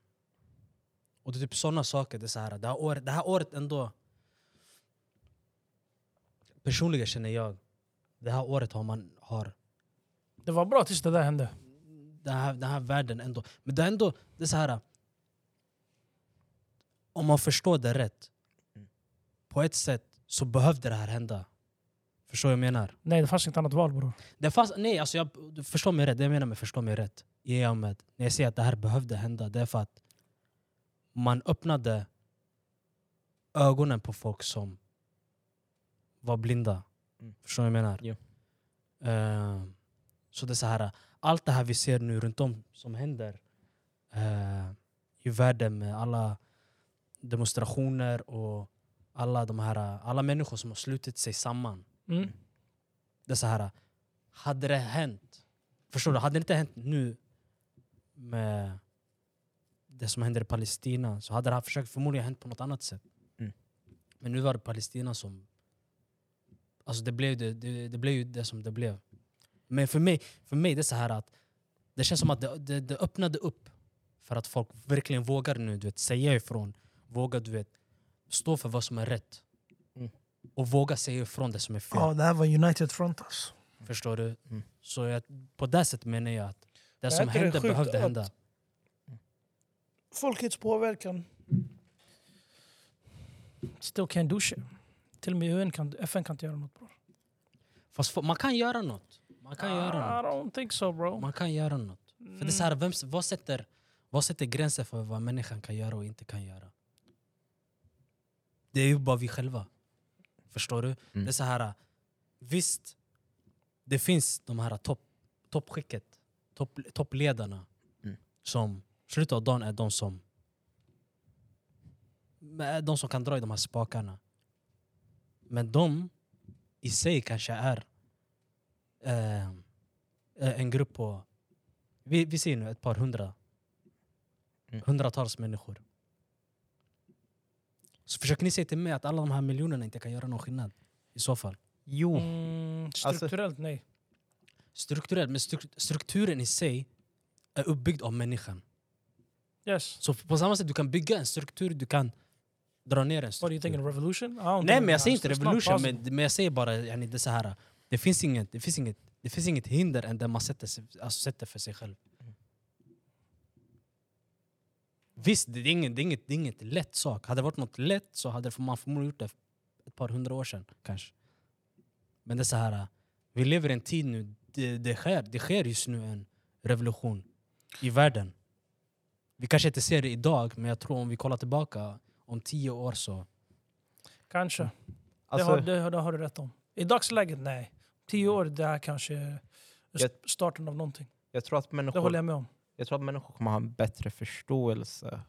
Speaker 1: Och det är typ sådana saker. Det, är så här, det, här året, det här året ändå... Personligen känner jag, det här året har man... Har,
Speaker 3: Det var bra tills det där hände.
Speaker 1: den här, den här världen ändå. Men det är ändå, det är så här. Om man förstår det rätt,
Speaker 2: Mm.
Speaker 1: på ett sätt så behövde det här hända. Förstår vad jag menar?
Speaker 3: Nej, det fanns inget annat val bror.
Speaker 1: Det fanns, nej, alltså jag, du förstår mig rätt. Det jag menar med förstå mig rätt. I och med, när jag säger att det här behövde hända, det är för att man öppnade ögonen på folk som var blinda.
Speaker 2: Mm.
Speaker 1: Förstår du vad jag menar?
Speaker 2: Ja.
Speaker 1: Eh, så det är så här, allt det här vi ser nu runt om som händer eh, i världen med alla demonstrationer och alla, de här, alla människor som har slutit sig samman
Speaker 3: Mm.
Speaker 1: det är så här, hade det hänt, förstår du, hade det inte hänt nu med det som händer i Palestina så hade det här försökt förmodligen hänt på något annat sätt.
Speaker 2: Mm.
Speaker 1: Men nu var det Palestina som... Alltså det blev, det, det, det blev ju det som det blev. Men för mig, för mig det är så här att det känns som att det, det, det öppnade upp för att folk verkligen vågar nu du vet, säga ifrån. Vågar du vet, stå för vad som är rätt.
Speaker 2: Mm.
Speaker 1: Och våga säga ifrån det som är fel.
Speaker 3: Ja, det här var United Front alltså.
Speaker 1: Förstår du?
Speaker 2: Mm.
Speaker 1: Så jag, på det sättet menar jag att det
Speaker 3: Men
Speaker 1: som
Speaker 3: är inte det
Speaker 1: hände
Speaker 3: sjukt
Speaker 1: behövde
Speaker 3: att-
Speaker 1: hända.
Speaker 3: Folkets påverkan. Still can't do shit. Till och med UN kan, FN kan inte göra något bror.
Speaker 1: Fast fo- man kan göra något. Man
Speaker 3: Ah.
Speaker 1: kan göra
Speaker 3: I
Speaker 1: något.
Speaker 3: don't think so bro.
Speaker 1: Man kan göra något. För det är så här, vem, s- vad, sätter, vad sätter gränser för vad människan kan göra och inte kan göra? Det är ju bara vi själva. Förstår du? Det är så här, visst, det finns de här topp, toppskicket, topp, toppledarna
Speaker 2: Mm.
Speaker 1: som i slutet av dagen är de som är de som kan dra i de här spakarna. Men de i sig kanske är eh, en grupp på, vi, vi ser nu ett par hundra,
Speaker 2: Mm.
Speaker 1: hundratals människor. Så försöker ni säga till mig att alla de här miljonerna inte kan göra någon skillnad? I så fall.
Speaker 2: Jo.
Speaker 1: Oh.
Speaker 3: Mm,
Speaker 1: Alltså-
Speaker 3: strukturellt nej.
Speaker 1: Strukturellt, men struk- strukturen i sig är uppbyggd av människan.
Speaker 3: Yes.
Speaker 1: Så på samma sätt du kan bygga en struktur, du kan dra ner en
Speaker 3: What do you think?
Speaker 1: struktur.
Speaker 3: a Revolution? I don't
Speaker 1: Nej
Speaker 3: think
Speaker 1: men jag
Speaker 3: it-
Speaker 1: säger inte
Speaker 3: it's not
Speaker 1: revolution,
Speaker 3: possible.
Speaker 1: men, men jag säger bara yani, det är så här. Det finns inget, det finns inget, det finns inget hinder än det man sätter, sig- alltså, sätter för sig själv. Visst, det är, inget, det, är inget, det är inget lätt sak. Hade det varit något lätt så hade man förmodligen gjort det ett par hundra år sedan kanske. Men det är så här, vi lever i en tid nu, det, det, sker, det sker just nu en revolution i världen. Vi kanske inte ser det idag, men jag tror om vi kollar tillbaka om tio år så...
Speaker 3: Kanske.
Speaker 2: Alltså,
Speaker 3: det, har, det, har- det har du rätt om. I dagsläget, nej. Tio år, det här kanske är
Speaker 2: Jag-
Speaker 3: st- starten av någonting.
Speaker 2: jag, tror att
Speaker 3: Det
Speaker 2: människor,
Speaker 3: håller
Speaker 2: jag.
Speaker 3: jag med om.
Speaker 2: tror att människor kommer ha en bättre förståelse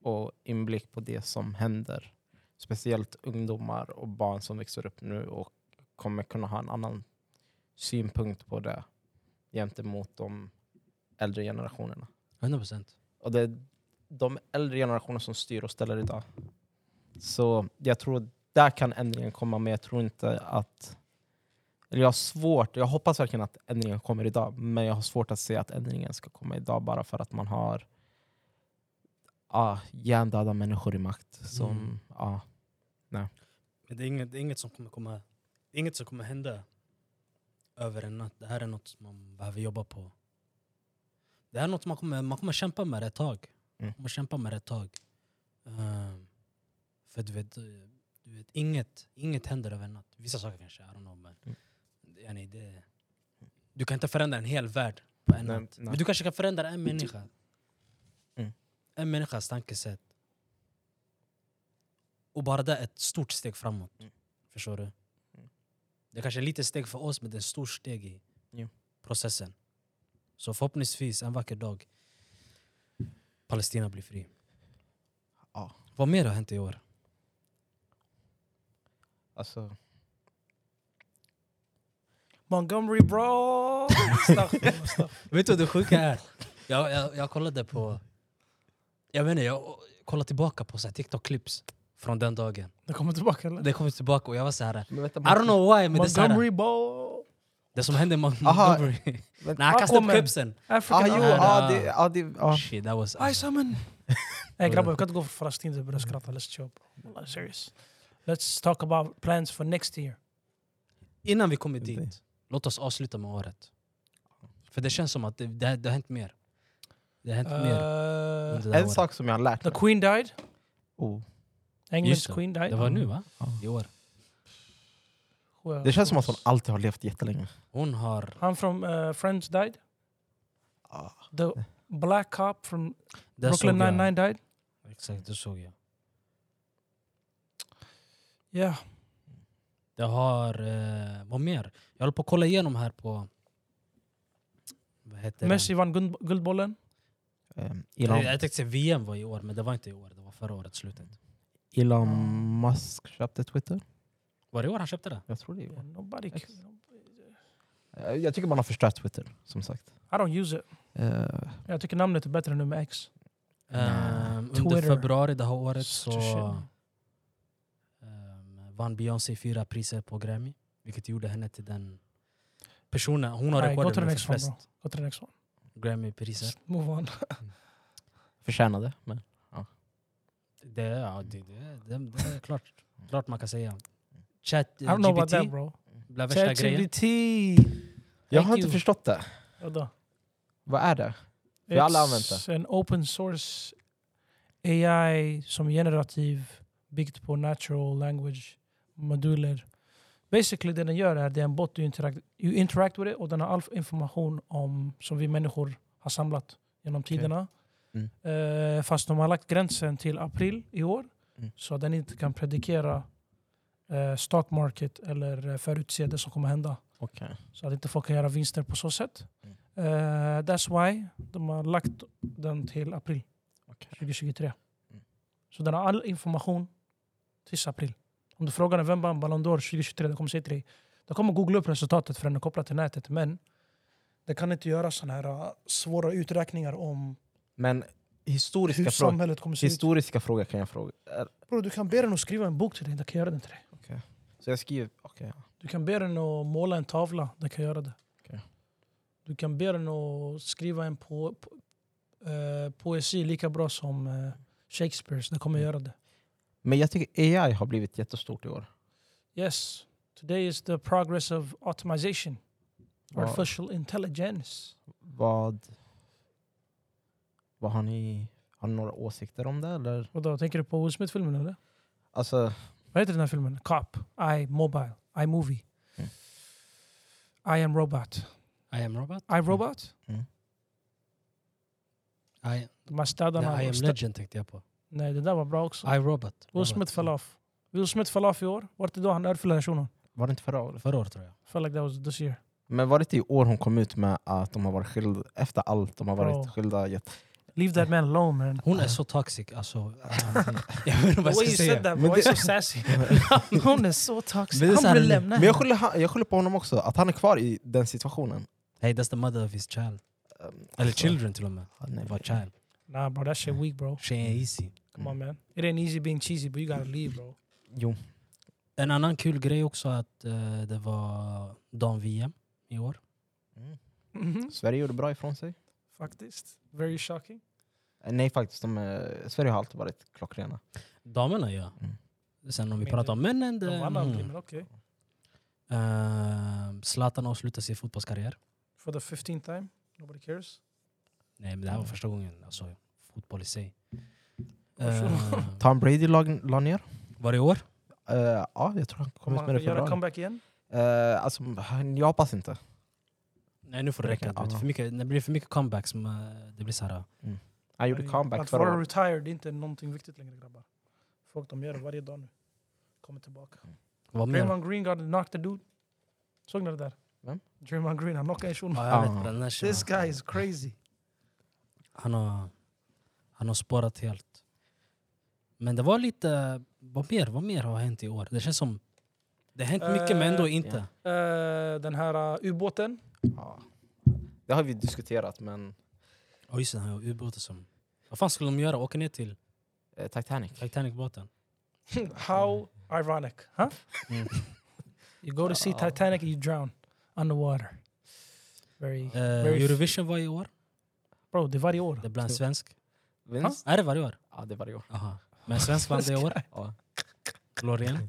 Speaker 2: och inblick på det som händer. Speciellt ungdomar och barn som växer upp nu och kommer kunna ha en annan synpunkt på det gentemot de äldre generationerna.
Speaker 1: 100 procent.
Speaker 2: Och det är de äldre generationer som styr och ställer idag. Så jag tror där kan ändringen komma, men jag tror inte att... Eller jag har svårt, jag hoppas verkligen att ändringen kommer idag, men jag har svårt att se att ändringen ska komma idag bara för att man har ah, hjärndöda människor i makt. Som,
Speaker 1: Mm.
Speaker 2: ah,
Speaker 1: Men det är inget, det är inget som kommer komma... det är Inget som kommer hända över en natt. Det här är något som man behöver jobba på. Det här är något man kommer, man kommer kämpa med det ett tag. Man
Speaker 2: Mm.
Speaker 1: kommer kämpa med det ett tag. Ehm, för du vet, eh, du vet inget, inget händer över en natt. Vissa saker kanske, I don't know. Men,
Speaker 2: Mm.
Speaker 1: yani, det, du kan inte förändra en hel värld på en
Speaker 2: Nej,
Speaker 1: natt.
Speaker 2: nej.
Speaker 1: Men du kanske kan förändra en människa.
Speaker 2: Mm.
Speaker 1: En människas tankesätt. Och bara det är ett stort steg framåt.
Speaker 2: Mm.
Speaker 1: Förstår du? Det kanske är ett litet steg för oss, men det är ett stort steg i
Speaker 2: Ja.
Speaker 1: processen. Så förhoppningsvis, en vacker dag, Palestina blir fri.
Speaker 2: Ja.
Speaker 1: Vad mer har hänt i år?
Speaker 2: alltså,
Speaker 3: Montgomery bro! Staffel, staffel.
Speaker 1: Vet du vad det sjuka är? Jag, jag, jag kollade på... Jag menar, jag kollade tillbaka på så här TikTok-clips från den dagen.
Speaker 3: Det kommer tillbaka eller?
Speaker 1: Det kom tillbaka och jag var så här...
Speaker 2: men vänta,
Speaker 1: I don't know why, men det, är så här,
Speaker 3: Montgomery bro!
Speaker 1: det som hände med
Speaker 2: Aha.
Speaker 1: Montgomery...
Speaker 2: Men-
Speaker 1: När han
Speaker 3: Han
Speaker 1: kastade upp
Speaker 3: kommer.
Speaker 1: kepsen!
Speaker 2: Ah,
Speaker 3: African
Speaker 2: jo,
Speaker 1: Här,
Speaker 2: ah,
Speaker 1: ah.
Speaker 2: det, ah, det, ah.
Speaker 1: Shit, that was...
Speaker 3: I summon! Nej grabbar, vi kan inte gå från Palestina till att börja skratta. Let's chill. Wallah, serious. Let's talk about plans for next year.
Speaker 1: Innan vi kommer
Speaker 2: Det-
Speaker 1: dit, låt oss avsluta med året. För det känns som att det, det, det har hänt mer. Det har hänt mer
Speaker 3: Eh,
Speaker 1: under det här
Speaker 2: En
Speaker 1: året.
Speaker 2: sak som jag har lärt
Speaker 3: the
Speaker 2: mig.
Speaker 3: Queen died.
Speaker 2: Oh.
Speaker 1: Just
Speaker 3: Englands
Speaker 1: det.
Speaker 3: Queen died.
Speaker 1: Det var nu va?
Speaker 2: Ja.
Speaker 1: I år.
Speaker 3: Who else?
Speaker 2: Det känns som
Speaker 3: Who
Speaker 2: att hon
Speaker 3: else?
Speaker 2: alltid har levt jättelänge.
Speaker 1: Hon har...
Speaker 3: Han från eh, Friends died.
Speaker 2: Ah.
Speaker 3: The black cop from
Speaker 1: Det
Speaker 3: Brooklyn
Speaker 1: såg jag.
Speaker 3: Nine-Nine died.
Speaker 1: Exakt, det såg jag.
Speaker 3: Yeah.
Speaker 1: Det har... Eh, vad mer? Jag håller på att kolla igenom här på... Vad heter
Speaker 3: Messi vann guld, Guldbollen.
Speaker 2: Ehm,
Speaker 1: den?
Speaker 2: Elon,
Speaker 1: Jag tänkte säga VM var i år, men det var inte i år. Det var förra året, slutet.
Speaker 2: Elon Musk köpte Twitter.
Speaker 1: Var det i år han köpte det?
Speaker 2: Jag tror det är.
Speaker 3: Nobody.
Speaker 2: Ex-
Speaker 3: c-
Speaker 2: Eh, Jag tycker man har förstört Twitter, som sagt.
Speaker 3: I don't use it.
Speaker 2: Eh,
Speaker 3: Jag tycker namnet är bättre nu med X.
Speaker 1: Ehm, under
Speaker 3: Twitter.
Speaker 1: februari det här året
Speaker 3: Such
Speaker 1: så
Speaker 3: a shit.
Speaker 1: ehm, vann Beyoncé fyra priser på Grammy. Vilket gjorde henne till den personen. Hon har
Speaker 3: Nej, gå
Speaker 1: rekordet
Speaker 3: till
Speaker 1: med
Speaker 3: the next one,
Speaker 1: flest
Speaker 3: Go to the next one.
Speaker 1: Grammy-priser.
Speaker 3: Move on.
Speaker 2: förtjänade, men...
Speaker 1: Det, ja, det, det, det, det är klart, klart man kan säga. Chat
Speaker 3: I don't know about that
Speaker 1: GPT
Speaker 3: bro.
Speaker 1: blev värsta grejen.
Speaker 3: ChatGPT!
Speaker 2: Jag
Speaker 3: Thank
Speaker 2: har inte
Speaker 3: you.
Speaker 2: förstått det.
Speaker 3: Vadå?
Speaker 2: Vad är det? Vi har alla använt
Speaker 3: It's en open source AI som är generativ byggt på natural language moduler. Basically det den gör är det är en bot du interact, you interact with it och den har all information om som vi människor har samlat genom tiderna.
Speaker 2: Mm.
Speaker 3: Eh, fast de har lagt gränsen till april i år
Speaker 2: Mm.
Speaker 3: så den inte kan predikera eh, stock market eller eh, förutse det som kommer hända.
Speaker 2: Okej.
Speaker 3: Så att inte folk kan göra vinster på så sätt.
Speaker 2: Mm.
Speaker 3: Eh, that's why de har lagt den till april
Speaker 2: Okej.
Speaker 3: 2023.
Speaker 2: Mm.
Speaker 3: Så den har all information tills april. Om du frågar den vem vann Ballon d'Or 2023, den kommer säga till dig. Den kommer googla upp resultatet för den är kopplad till nätet. Men den kan inte göra sådana här uh, svåra uträkningar om
Speaker 2: Men
Speaker 3: hur
Speaker 2: historiska, frågor,
Speaker 3: samhället kommer se ut.
Speaker 2: historiska frågor kan jag fråga. eh, Är-
Speaker 3: Bro, du kan be den att skriva en bok till dig, den kan göra den till dig.
Speaker 2: Så jag skriver... Okej.
Speaker 3: Du kan be den att måla en tavla, den kan göra det.
Speaker 2: Okej.
Speaker 3: Du kan be den att skriva en po po eh, poesi lika bra som eh, Shakespeares, den
Speaker 1: Mm.
Speaker 3: kommer göra det.
Speaker 2: Men jag tycker AI har blivit jättestort i år.
Speaker 3: Yes, today is the progress of automation,
Speaker 2: Vad,
Speaker 3: artificial intelligence.
Speaker 2: vad, vad har ni... Har ni några åsikter om det? Eller?
Speaker 3: Vadå, tänker du på Will Smith-filmen eller?
Speaker 2: Alltså,
Speaker 3: Vad heter den här filmen? Cop, I Mobile, I Movie.
Speaker 2: Mm.
Speaker 3: I am robot.
Speaker 1: I am Robot.
Speaker 3: I
Speaker 1: Mm.
Speaker 3: robot?
Speaker 2: Mm.
Speaker 1: I,
Speaker 3: De här
Speaker 1: nej,
Speaker 3: städarna.
Speaker 1: I am
Speaker 3: stä-
Speaker 1: Legend tänkte jag på.
Speaker 3: Nej, den där var bra också.
Speaker 1: I Robot.
Speaker 3: Will
Speaker 1: Robot.
Speaker 3: Smith fell off. Will Smith fell off i år. Vart är då han örfilade shunon?
Speaker 2: var det inte förra året?
Speaker 1: Förra året tror jag.
Speaker 3: Felt like that was this year.
Speaker 2: Men var det inte i år hon kom ut med att de har varit skilda, efter allt, de har varit
Speaker 3: Bro.
Speaker 2: skilda jätte...
Speaker 3: Leave that man alone man.
Speaker 1: Hon är så toxic alltså. jag vet inte vad jag ska säga.
Speaker 3: that,
Speaker 2: Men
Speaker 3: why so sassy? Hon är så
Speaker 1: Men det
Speaker 3: toxic.
Speaker 1: är så
Speaker 3: Han
Speaker 1: här-
Speaker 3: vill lämna
Speaker 2: Men jag skyller, han- jag skyller på honom också, att han är kvar i den situationen.
Speaker 1: Hey, that's the mother of his child.
Speaker 2: Um,
Speaker 1: Eller
Speaker 2: alltså,
Speaker 1: children till och med.
Speaker 2: han är-
Speaker 1: Det var child.
Speaker 3: Nah bro, that shit weak bro.
Speaker 1: She ain't easy.
Speaker 3: Come on man. It ain't easy being cheesy but you gotta leave bro.
Speaker 2: Jo.
Speaker 1: En annan kul grej också att eh, det var dam-VM i år.
Speaker 3: Mm.
Speaker 2: Sverige gjorde bra ifrån sig.
Speaker 3: Faktiskt. Very shocking.
Speaker 2: Eh, Nej faktiskt, de, eh, Sverige har alltid varit klockrena.
Speaker 1: Damerna ja.
Speaker 2: Mm.
Speaker 1: Sen om vi
Speaker 3: Men
Speaker 1: pratar
Speaker 3: det-
Speaker 1: om männen. det-
Speaker 3: De vann aldrig
Speaker 1: mm.
Speaker 3: men okej.
Speaker 1: Eh, Zlatan avslutar sin fotbollskarriär.
Speaker 3: For the 15th time. Nobody cares.
Speaker 1: Nej men det
Speaker 3: Mm.
Speaker 1: här var första gången. Alltså fotboll i sig.
Speaker 3: Varför?
Speaker 1: Eh,
Speaker 2: Tom Brady la, la ner.
Speaker 1: var det i år?
Speaker 2: Eh, ja, jag tror han kom
Speaker 3: Kommer
Speaker 2: ut
Speaker 3: han
Speaker 2: med det
Speaker 3: göra
Speaker 2: förra året.
Speaker 3: comeback igen?
Speaker 2: Eh, alltså, han- jag hoppas inte.
Speaker 1: Nej nu får det räcka. Du vet, för mycket, det blir för mycket comebacks. men eh, Det blir så här,
Speaker 2: Han gjorde comeback
Speaker 3: Att
Speaker 2: förra
Speaker 3: vara
Speaker 2: året.
Speaker 3: retired är inte någonting viktigt längre grabbar. Folk de gör det varje dag nu. Kommer tillbaka.
Speaker 1: vad mer?
Speaker 3: Draymond Green got knocked a dude. Såg ni det där?
Speaker 2: Vem?
Speaker 3: Draymond Green, han knockade en shuno.
Speaker 1: Ja, jag vet,
Speaker 2: Ah.
Speaker 1: den där
Speaker 3: This
Speaker 1: tjejen,
Speaker 3: guy is crazy.
Speaker 1: han, har, han har spårat helt. Men det var lite... Vad mer, vad mer har hänt i år? Det känns som... Det har hänt mycket men ändå
Speaker 3: Eh,
Speaker 1: inte.
Speaker 2: ja.
Speaker 3: Eh, den här eh, ubåten.
Speaker 2: Ja. Det har vi diskuterat, men
Speaker 1: Ja just det, den här ubåten som... Vad fan skulle de göra? Åka ner till
Speaker 2: eh, Titanic.
Speaker 1: Titanic-båten?
Speaker 3: How ironic, huh?
Speaker 1: Mm.
Speaker 3: you go to see
Speaker 2: Ja.
Speaker 3: Titanic and you drown underwater. Very...
Speaker 1: Eh,
Speaker 3: Very f-
Speaker 1: Eurovision var i år.
Speaker 3: Bro, det är varje år.
Speaker 1: Det blev en svensk.
Speaker 2: Vinst?
Speaker 1: Är det varje år?
Speaker 2: Ja, det är varje år.
Speaker 1: Aha. Men svensk vann det i år.
Speaker 2: Ja.
Speaker 1: Loreen.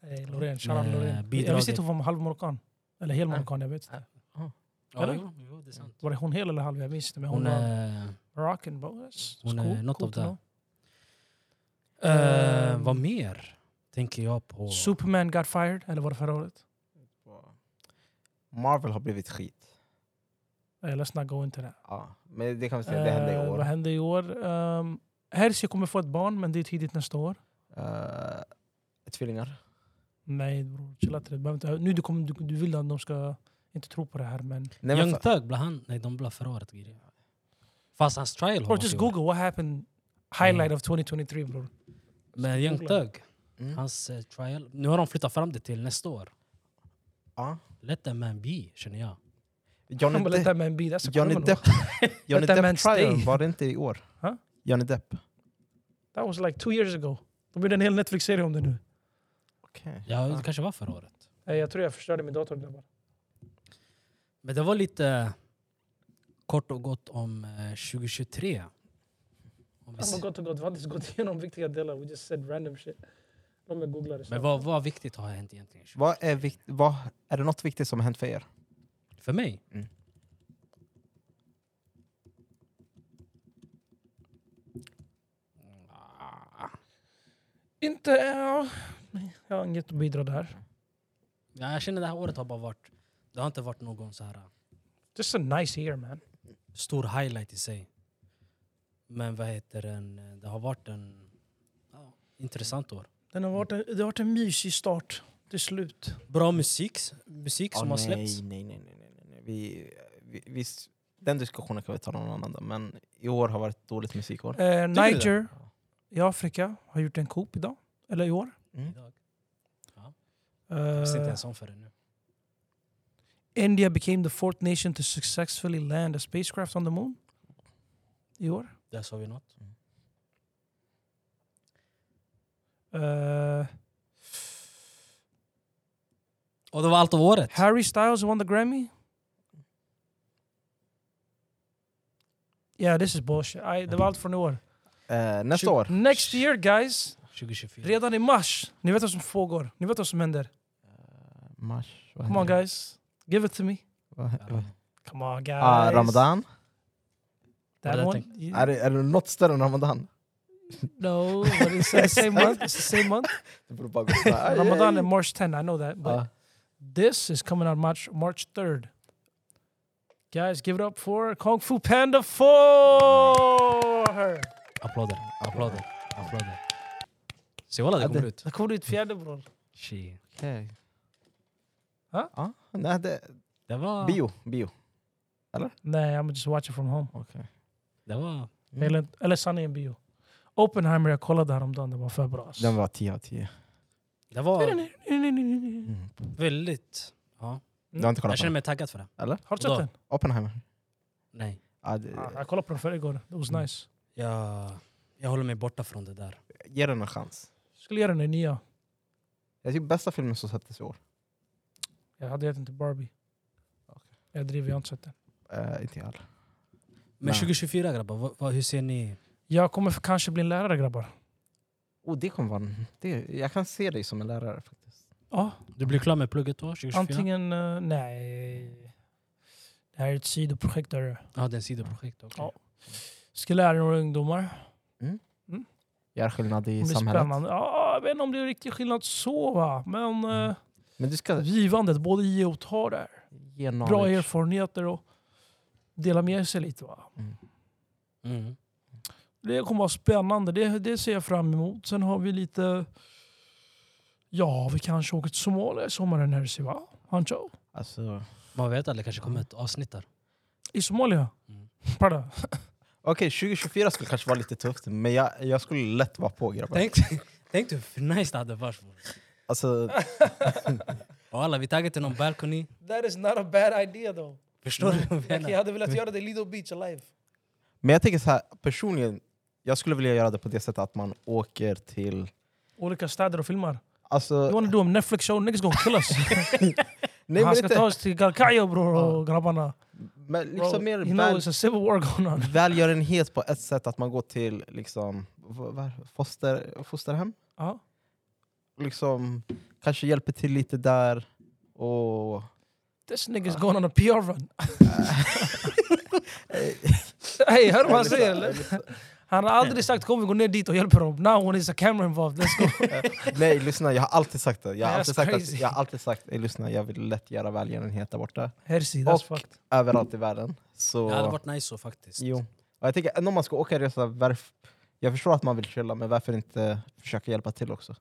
Speaker 3: Eh, Loreen, shoutout
Speaker 1: Eh,
Speaker 3: Loreen. Jag visste
Speaker 1: bidraget.
Speaker 3: inte hon var halvmarockan. Eller hel
Speaker 2: Nej.
Speaker 3: marockan, jag vet inte.
Speaker 1: Ja,
Speaker 3: Eller?
Speaker 1: jo, jo, det är sant.
Speaker 3: Var det hon hel eller halv? Jag minns inte. Men
Speaker 1: Hon
Speaker 3: hon,
Speaker 1: eh,
Speaker 3: var
Speaker 1: är...
Speaker 3: Moroccan. Bro. That's-
Speaker 1: hon
Speaker 3: that's
Speaker 1: är
Speaker 3: cool,
Speaker 1: något
Speaker 3: cool
Speaker 1: av
Speaker 3: to
Speaker 1: det.
Speaker 3: know.
Speaker 1: Eh,
Speaker 3: Ehm.
Speaker 1: vad mer tänker jag på?
Speaker 3: Superman got fired, er eller var det förra året?
Speaker 2: Marvel har blivit skit.
Speaker 3: Eh, Let's not go into that.
Speaker 2: Ja. Men det kan vi säga, det hände i
Speaker 3: Eh,
Speaker 2: år.
Speaker 3: Vad hände i år? Um, Hershey kommer få ett barn, men det är tidigt nästa år.
Speaker 2: Eh, tvillingar.
Speaker 3: Nej bror, chilla till det. Du behöver inte- Nu du, kommer, du, du vill att de ska inte tro på det här men...
Speaker 2: Nej, men
Speaker 1: Young
Speaker 2: fa-
Speaker 1: Thug, blev han... Nej, de blev förra året. grejer. Fast hans trial har
Speaker 3: Or
Speaker 1: varit
Speaker 3: just
Speaker 1: i år.
Speaker 3: google what happened highlight of 2023 bror.
Speaker 1: Men Young
Speaker 3: Googla.
Speaker 1: Thug,
Speaker 2: mm.
Speaker 1: hans eh, trial... Nu har de flyttat fram det till nästa år.
Speaker 2: Ja.
Speaker 1: Let the man be, känner jag.
Speaker 2: Johnny
Speaker 3: Let
Speaker 2: Depp.
Speaker 3: that man be, that's a
Speaker 2: Johnny
Speaker 3: criminal.
Speaker 2: Depp, Johnny
Speaker 3: Let that man
Speaker 2: Depp
Speaker 3: stay.
Speaker 2: trial, var det inte i år?
Speaker 3: Huh?
Speaker 2: Johnny Depp.
Speaker 3: That was like two years ago. De gjorde en hel Netflix-serie om det nu.
Speaker 2: Okej.
Speaker 1: Ja,
Speaker 2: Ja.
Speaker 1: Det kanske var förra året.
Speaker 3: Eh, Jag tror jag förstörde min dator grabbar.
Speaker 1: Men det var lite kort och gott om eh, 2023. Om vi
Speaker 3: Fan
Speaker 1: ser-
Speaker 3: vad gott och gott, vi har inte ens gått igenom viktiga delar. We just said random shit. Låt mig googla det.
Speaker 1: Men
Speaker 3: snabbt.
Speaker 1: vad, vad viktigt har hänt egentligen?
Speaker 2: Vad är, vikt, vad, är det något viktigt som har hänt för er?
Speaker 1: För mig?
Speaker 2: Mm.
Speaker 1: Ah,
Speaker 3: Inte... Ja. Jag har inget att bidra där.
Speaker 1: Ja, jag känner det här året har bara varit... Det har inte varit någon så här
Speaker 3: Just a nice year man.
Speaker 1: stor highlight i sig. Men vad heter den? Det har varit en ja, intressant år.
Speaker 3: Den har varit en, det har varit en mysig start till slut.
Speaker 1: Bra musik, musik som har
Speaker 2: Ah, nej,
Speaker 1: släppts.
Speaker 2: Nej, nej, nej, nej, nej, nej. Vi, vi, vi, den diskussionen kan vi ta någon annan dag. Men i år har varit ett dåligt musikår.
Speaker 3: Eh,
Speaker 1: Tycker du det?
Speaker 3: Niger i Afrika har gjort en coup idag. Eller i år.
Speaker 2: Mm.
Speaker 1: Idag. Jag visste inte
Speaker 3: Eh,
Speaker 1: ens om förrän nu.
Speaker 3: India became the fourth nation to successfully land a spacecraft on the moon. I år.
Speaker 1: Där sa vi något.
Speaker 3: Eh,
Speaker 1: Och det var allt om året.
Speaker 3: Harry Styles won the Grammy. Yeah, this is bullshit. I, det var allt från i år.
Speaker 2: Eh, nästa
Speaker 1: Tju-
Speaker 2: år.
Speaker 3: Next year guys,
Speaker 1: 2024.
Speaker 3: redan i mars. Ni vet vad som pågår. Ni vet vad som händer.
Speaker 2: Mars. vad
Speaker 3: Come on
Speaker 2: händer?
Speaker 3: guys, give it to me.
Speaker 2: Vad hä- vad-
Speaker 3: Come on guys.
Speaker 2: Ah,
Speaker 1: Vad
Speaker 2: Ramadan.
Speaker 3: That
Speaker 1: är det
Speaker 3: one,
Speaker 2: Är, det, är det något större än Ramadan?
Speaker 3: No, but it's the same month. It's the same month.
Speaker 2: Det borde bara gå sådär.
Speaker 3: Ramadan and March 10. I know that, but
Speaker 2: Ah,
Speaker 3: this is coming out March March 3rd. Guys, give it up for Kung Fu Panda 4!
Speaker 1: Applåder, applåder, applåder. Se walla det
Speaker 2: Ja,
Speaker 1: kommer
Speaker 2: det-
Speaker 1: ut.
Speaker 3: Det kommer ut fjärde bror.
Speaker 1: Shit.
Speaker 2: okej.
Speaker 3: Ah?
Speaker 2: Ah, nej, det,
Speaker 1: Det var...
Speaker 2: bio. bio.
Speaker 3: Nej, I'm just watching from home.
Speaker 1: Det var...
Speaker 3: Eller, eller sanningen bio. Oppenheimer, jag kollade häromdagen, det var för bra. alltså.
Speaker 2: Den var 10 av 10.
Speaker 1: Det var
Speaker 3: Mm.
Speaker 2: Mm.
Speaker 1: väldigt... Ja.
Speaker 2: Du har inte kollat
Speaker 1: Jag
Speaker 2: på
Speaker 1: känner
Speaker 2: den?
Speaker 1: mig taggad för det.
Speaker 3: Har du sett
Speaker 1: Vadå?
Speaker 3: den?
Speaker 2: Oppenheimer?
Speaker 1: Nej.
Speaker 2: Ah, det,
Speaker 3: Ah, Jag kollade på den förr igår. It was
Speaker 2: Mm.
Speaker 3: nice.
Speaker 1: Jag, jag håller mig borta från det där.
Speaker 2: Ge den en chans.
Speaker 3: Skulle ge den en nia.
Speaker 2: Jag tycker bästa filmen som släpptes i år.
Speaker 3: Jag hade gett den till Barbie. Jag driver, jag har inte sett den.
Speaker 2: Eh, inte jag heller.
Speaker 1: Men
Speaker 2: Nej.
Speaker 1: 2024 grabbar, vad, vad, hur ser ni?
Speaker 3: Jag kommer för- kanske bli en lärare grabbar.
Speaker 2: Oh, det kommer vara en, det, jag kan se dig som en lärare faktiskt.
Speaker 3: Ja,
Speaker 1: Du blir klar med plugget då, 2024?
Speaker 3: antingen... eh, nej. Det här är ett sidoprojekt. Där.
Speaker 1: Ja, ah, det är en sidoprojekt. okej.
Speaker 3: Ja. Ska lära några ungdomar.
Speaker 2: Gör skillnad
Speaker 3: Det
Speaker 2: i
Speaker 3: blir
Speaker 2: samhället.
Speaker 3: spännande. Ja, jag vet inte om det är riktig skillnad så, va? men
Speaker 2: Mm.
Speaker 3: eh,
Speaker 2: Men du ska
Speaker 3: givandet, både ge och ta där.
Speaker 2: ge
Speaker 3: Bra
Speaker 2: knowledge.
Speaker 3: erfarenheter och dela med sig lite. Va?
Speaker 1: Mm.
Speaker 3: Det kommer vara spännande, det, det ser jag fram emot. Sen har vi lite... Ja, vi kanske åker till Somalia i sommaren, Herzi, va? Hancho?
Speaker 2: Alltså,
Speaker 1: Man vet aldrig, det kanske kommer ett avsnitt där.
Speaker 3: I Somalia?
Speaker 1: Mm.
Speaker 3: Prada.
Speaker 2: Okej, 2024 skulle kanske vara lite tufft, men jag, jag skulle lätt vara på grabbar.
Speaker 1: Tänk, tänk du hur nice det hade varit. bror.
Speaker 2: Alltså,
Speaker 1: Och alla, vi taggar till någon balkoni.
Speaker 3: That is not a bad idea though.
Speaker 1: Förstår du vad jag
Speaker 3: Jag
Speaker 1: menar?
Speaker 3: hade velat göra det Lido Beach alive.
Speaker 2: men jag tänker så här, personligen, jag skulle vilja göra det på det sättet att man åker till...
Speaker 3: Olika städer och filmar. You
Speaker 2: Alltså,
Speaker 3: wanna do a Netflix show, niggas gonna kill us.
Speaker 2: nej,
Speaker 3: Han
Speaker 2: men
Speaker 3: ska ta
Speaker 2: inte,
Speaker 3: oss till Galkayo bror och grabbarna.
Speaker 2: men
Speaker 3: Bro,
Speaker 2: liksom mer väl-
Speaker 3: you know it's a civil war going on.
Speaker 2: välgörenhet på ett sätt att man går till liksom, v- vad- foster, fosterhem.
Speaker 3: Ja.
Speaker 2: Liksom, kanske hjälper till lite där. Och,
Speaker 3: This nigga's going on a PR run.
Speaker 2: Eh,
Speaker 3: Hey, hör du vad han säger eller?
Speaker 2: Liksom,
Speaker 3: Han har aldrig sagt kom vi går ner dit och hjälper dem. Now when it's a camera involved, let's go.
Speaker 2: Nej, lyssna, jag har alltid sagt det. Jag har
Speaker 3: That's
Speaker 2: alltid sagt,
Speaker 3: crazy.
Speaker 2: att, jag har alltid sagt "Ey, lyssna, jag vill lätt göra välgörenhet där borta.
Speaker 3: Hersi, that's
Speaker 2: Och-
Speaker 3: fucked.
Speaker 2: Överallt i världen. Så,
Speaker 1: Det hade varit nice så faktiskt.
Speaker 2: jo. Och jag tänker, ändå om man ska åka en resa, varf, jag förstår att man vill chilla, men varför inte försöka hjälpa till också?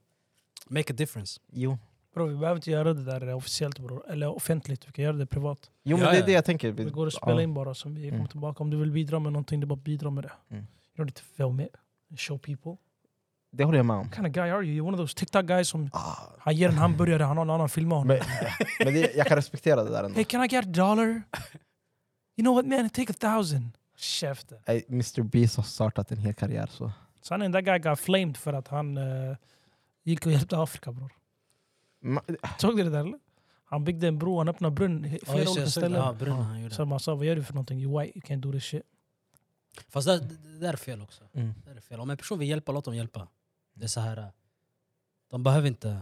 Speaker 1: Make a difference.
Speaker 2: Jo,
Speaker 3: Bro, vi behöver inte göra det där eh, officiellt bro. eller offentligt, vi kan göra det privat.
Speaker 2: jo men
Speaker 1: Ja,
Speaker 2: det är
Speaker 1: ja.
Speaker 2: det jag tänker.
Speaker 3: Det går att spela
Speaker 2: Ja.
Speaker 3: in bara, som vi kommer
Speaker 2: Mm.
Speaker 3: tillbaka. Om du vill bidra med någonting, det är bara att bidra med det.
Speaker 2: Mm.
Speaker 3: You don't need to film it, show people.
Speaker 2: Det håller jag med om.
Speaker 3: What kind of guy are you? You're one of those TikTok guys som
Speaker 2: Ah,
Speaker 3: han ger en hamburgare, han har en annan film honom.
Speaker 2: Men, men det, jag kan respektera det där ändå.
Speaker 3: Hey, can I get a dollar? You know what man, take a thousand. Käften.
Speaker 2: Ey, Mr Beast har startat en hel karriär så.
Speaker 3: Sanningen, that guy got flamed för att han eh, gick och hjälpte Afrika bror.
Speaker 2: Ma-
Speaker 3: Såg du det där eller? Han byggde en bro, han öppnade brunn i
Speaker 1: Ja,
Speaker 3: flera
Speaker 1: just det,
Speaker 3: olika
Speaker 1: jag såg det.
Speaker 3: ställen.
Speaker 1: Ja, brunnen han gjorde.
Speaker 3: Så man sa, vad gör du för någonting? You white, you can't do this shit.
Speaker 1: Fast det, det där är fel också.
Speaker 2: Mm.
Speaker 1: Det där är fel. Om en person vill hjälpa, låt dem hjälpa. Det är så här. äh, De behöver inte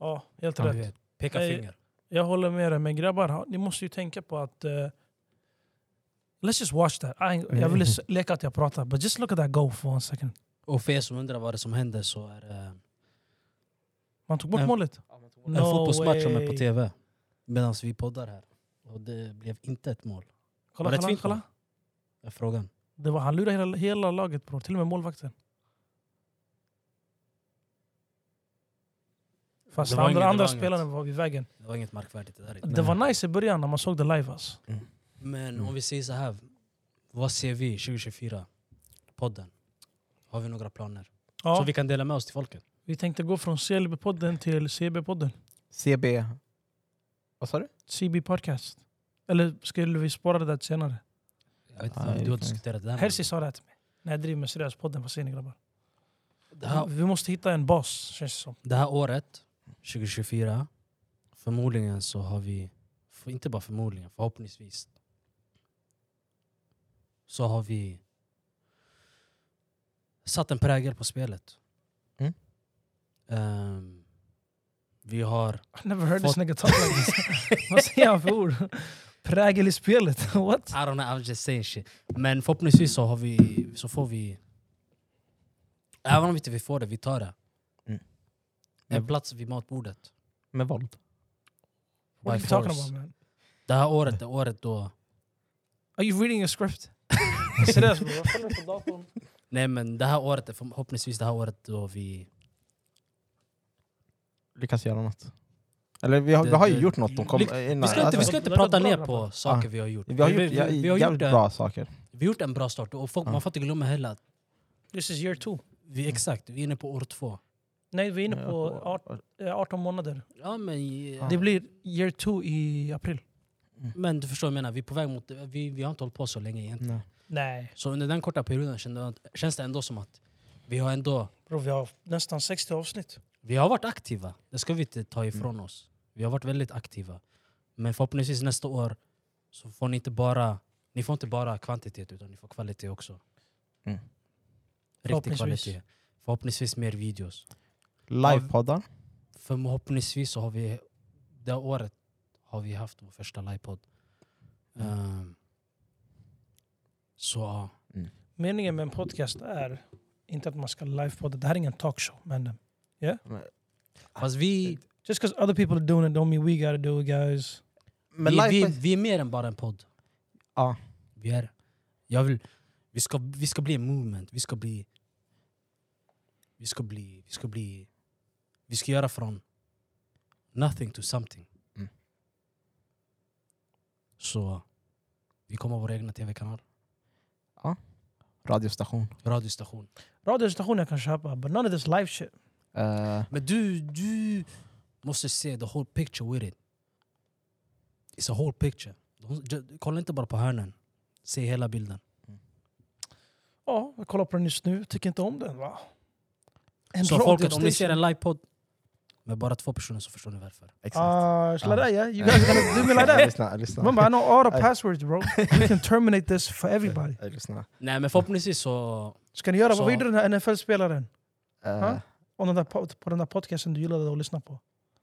Speaker 3: Ja, helt
Speaker 1: du
Speaker 3: rätt.
Speaker 1: vet, peka
Speaker 3: Nej.
Speaker 1: finger.
Speaker 3: Jag håller med dig, men grabbar, ha- ni måste ju tänka på att... eh, let's just watch that. I, ain't- jag vill s- leka att jag pratar, but just look at that go for one second.
Speaker 1: Och för er som undrar vad det som händer så är det eh,
Speaker 3: Man tog bort
Speaker 1: Nej.
Speaker 3: målet.
Speaker 1: en
Speaker 3: No
Speaker 1: fotbollsmatch som är på
Speaker 3: way.
Speaker 1: tv. Medan vi poddar här. Och det blev inte ett mål.
Speaker 3: Kolla,
Speaker 1: Var det ett
Speaker 3: kolla,
Speaker 1: fint
Speaker 3: kolla.
Speaker 1: mål? Är frågan.
Speaker 3: Det var, han lurade hela, hela laget bror, till och med målvakten. Fast
Speaker 1: Det var inget-
Speaker 3: andra,
Speaker 1: det
Speaker 3: andra
Speaker 1: var inget.
Speaker 3: spelarna var vid vägen.
Speaker 1: Det var inget märkvärdigt det där. inte.
Speaker 3: Det var nice i början när man såg det live alltså.
Speaker 1: Men
Speaker 2: Mm.
Speaker 1: om vi säger så här. Vad ser vi 2024? Podden. Har vi några planer? Så
Speaker 3: Ja,
Speaker 1: vi kan dela med oss till folket.
Speaker 3: vi tänkte gå från CLB-podden till CB-podden.
Speaker 2: CB... Vad sa du?
Speaker 3: CB Podcast. Eller skulle vi spara det där till senare?
Speaker 1: Jag vet inte
Speaker 2: Nej,
Speaker 1: om
Speaker 2: det
Speaker 1: du har
Speaker 2: kan-
Speaker 1: diskuterat det här.
Speaker 3: Herzi sa det här till mig. När jag driver med seriös podden, vad säger ni grabbar?
Speaker 1: Det här,
Speaker 3: Vi måste hitta en bas, känns det som.
Speaker 1: det här året, 2024, förmodligen så har vi, för- inte bara förmodligen, förhoppningsvis, så har vi satt en prägel på spelet.
Speaker 2: Mm.
Speaker 1: Ehm, vi har
Speaker 3: I never heard
Speaker 1: Fått-
Speaker 3: this nigga talk like this. vad säger han för ord? Prägel i spelet? What?
Speaker 1: I don't know, I'm just saying shit. Men förhoppningsvis så, har vi, så får vi... Även om inte vi får det, vi tar det.
Speaker 2: Mm.
Speaker 1: En plats vid matbordet.
Speaker 2: Med våld.
Speaker 3: What are
Speaker 1: By
Speaker 3: you talking
Speaker 1: force.
Speaker 3: about man?
Speaker 1: Det här året är året då...
Speaker 3: Are you reading a script? Seriöst bror?
Speaker 1: Nej men det här året är förhoppningsvis det här året då vi...
Speaker 2: Lyckas göra något. Eller vi har,
Speaker 1: Det-
Speaker 2: vi har ju
Speaker 1: det-
Speaker 2: gjort något. De kom,
Speaker 1: lyck-
Speaker 2: innan.
Speaker 1: Vi ska inte, vi ska inte
Speaker 3: Det har gått
Speaker 1: prata
Speaker 3: bra,
Speaker 1: ner
Speaker 3: grabbar.
Speaker 1: på saker
Speaker 2: Ah.
Speaker 1: vi har gjort.
Speaker 2: alltså- vi har gjort,
Speaker 1: vi, vi, vi har
Speaker 2: jävligt
Speaker 1: gjort, en,
Speaker 2: bra Ah. saker.
Speaker 1: vi har gjort en bra start och folk,
Speaker 2: Ja.
Speaker 1: man får inte glömma heller att
Speaker 3: This is year two.
Speaker 1: vi, exakt, vi är inne på år två.
Speaker 3: Nej, vi är inne på art- eh, 18 månader.
Speaker 1: Ja, men,
Speaker 2: Ja.
Speaker 3: Det blir year two i april.
Speaker 1: men du förstår vad jag menar, vi är på väg mot... Vi, vi har inte hållit på så länge egentligen.
Speaker 2: Nej.
Speaker 3: Nej,
Speaker 1: Så under den korta perioden kände jag att- känns det ändå som att vi har ändå
Speaker 3: bror vi har nästan 60 avsnitt.
Speaker 1: vi har varit aktiva. Det ska vi inte ta
Speaker 2: Mm.
Speaker 1: ifrån oss. Vi har varit väldigt aktiva. Men förhoppningsvis nästa år så får ni inte bara, ni får inte bara kvantitet utan ni får kvalitet också.
Speaker 2: Mm.
Speaker 1: Riktig
Speaker 3: Förhoppningsvis.
Speaker 1: kvalitet. Förhoppningsvis mer videos.
Speaker 2: Livepoddar.
Speaker 1: Förhoppningsvis så har vi, det här året har vi haft vår första livepodd.
Speaker 2: Mm.
Speaker 1: Ehm, så ja.
Speaker 3: Meningen med en podcast är inte att man ska livepodda. Det här är ingen talkshow. Men eh,
Speaker 2: Ah,
Speaker 1: Fast vi,
Speaker 3: just because other people are doing it don't mean we gotta do it guys.
Speaker 2: Men
Speaker 1: vi, vi,
Speaker 2: live,
Speaker 1: vi är mer än bara en podd.
Speaker 2: Ja.
Speaker 1: Vi är, jag vill, vi, ska, vi ska bli en movement. Vi ska bli... Vi ska bli... Vi ska bli... Vi ska göra från nothing to something.
Speaker 2: Mm.
Speaker 1: Så vi kommer ha vår egna tv-kanal,
Speaker 2: radiostation.
Speaker 1: radiostation.
Speaker 3: Radiostationer jag kan köpa, but none of this live shit.
Speaker 2: Eh,
Speaker 1: Men du, du måste se the whole picture with it. It's a whole picture. De- ju- Kolla inte bara på hörnen. Se hela bilden.
Speaker 3: Ja, jag kollar på den just nu. Tycker inte om den va? En
Speaker 1: Så folket, om ni ser
Speaker 3: radiostation.
Speaker 1: en livepodd, med bara två personer så förstår ni varför.
Speaker 2: Exakt.
Speaker 3: Ah,
Speaker 2: Ah.
Speaker 3: Shladeja, you guys gonna do me like that?
Speaker 2: Lyssna, lyssna.
Speaker 3: Remember, I know all the
Speaker 2: Aj.
Speaker 3: passwords bro. We can terminate this for everybody.
Speaker 2: Ey, lyssna.
Speaker 1: Nej men förhoppningsvis så...
Speaker 3: Ska ni göra,
Speaker 1: Så-
Speaker 3: vad gjorde den här NFL-spelaren?
Speaker 2: Eh,
Speaker 3: Ha? Och den där, po- på den där podcasten du gillade att lyssna på?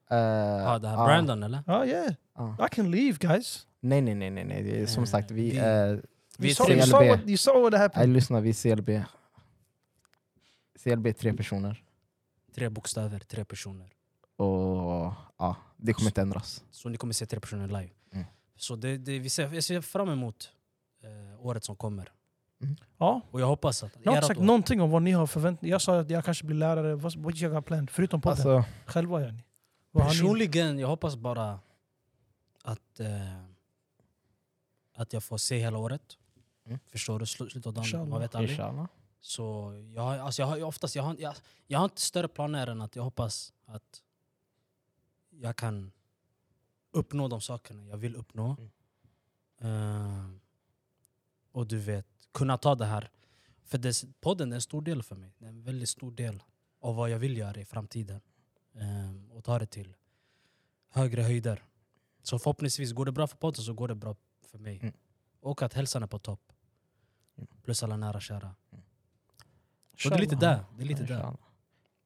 Speaker 2: eh,
Speaker 1: Ja, det här
Speaker 2: ah,
Speaker 1: Brandon eller?
Speaker 3: Ja, yeah.
Speaker 2: ah.
Speaker 3: I can leave guys.
Speaker 2: Nej, nej, nej, nej, nej. Det är Som
Speaker 1: Eh,
Speaker 2: sagt, vi
Speaker 1: vi-
Speaker 2: är...
Speaker 1: Vi
Speaker 3: You
Speaker 1: är
Speaker 3: saw,
Speaker 1: tre
Speaker 3: you,
Speaker 1: eller...
Speaker 3: saw
Speaker 2: CLB.
Speaker 3: what, you saw what
Speaker 2: Ey,
Speaker 3: happened.
Speaker 2: lyssna, vi är CLB. CLB är tre personer.
Speaker 1: Tre bokstäver, tre personer.
Speaker 2: Och ja, det kommer inte ändras.
Speaker 1: Så ni kommer se tre personer live.
Speaker 2: Mm.
Speaker 1: Så det, det, vi ser, jag ser fram emot eh, året som kommer.
Speaker 3: Ja,
Speaker 1: Och jag hoppas att...
Speaker 3: jag har inte
Speaker 1: ert
Speaker 3: sagt
Speaker 1: år-
Speaker 3: någonting om vad ni har förväntningar. Jag sa att jag kanske blir lärare. Vad vad jag har plan? Förutom podden.
Speaker 2: Alltså,
Speaker 3: Själva gör ni. Vad har ni-
Speaker 1: Personligen, jag hoppas bara att, eh, att jag får se hela året.
Speaker 2: Mm.
Speaker 1: Förstår du? Slu- Slutet av dagen,
Speaker 3: Inshallah.
Speaker 1: man vet aldrig.
Speaker 2: inshallah.
Speaker 1: Så jag, har- alltså jag, har, jag, oftast, jag, har, jag, jag har inte större planer än att jag hoppas att jag kan uppnå de sakerna jag vill uppnå.
Speaker 2: Mm.
Speaker 1: Eh, och du vet, kunna ta det här. För det, podden är en stor del för mig. Det är en väldigt stor del av vad jag vill göra i framtiden. Eh, och ta det till högre höjder. Så förhoppningsvis, går det bra för podden så går det bra för mig.
Speaker 2: Mm.
Speaker 1: Och att hälsan är på topp. Plus alla nära och kära. Så det är
Speaker 3: Inshallah.
Speaker 1: lite där. Mm. Det är lite där.
Speaker 2: Inshallah.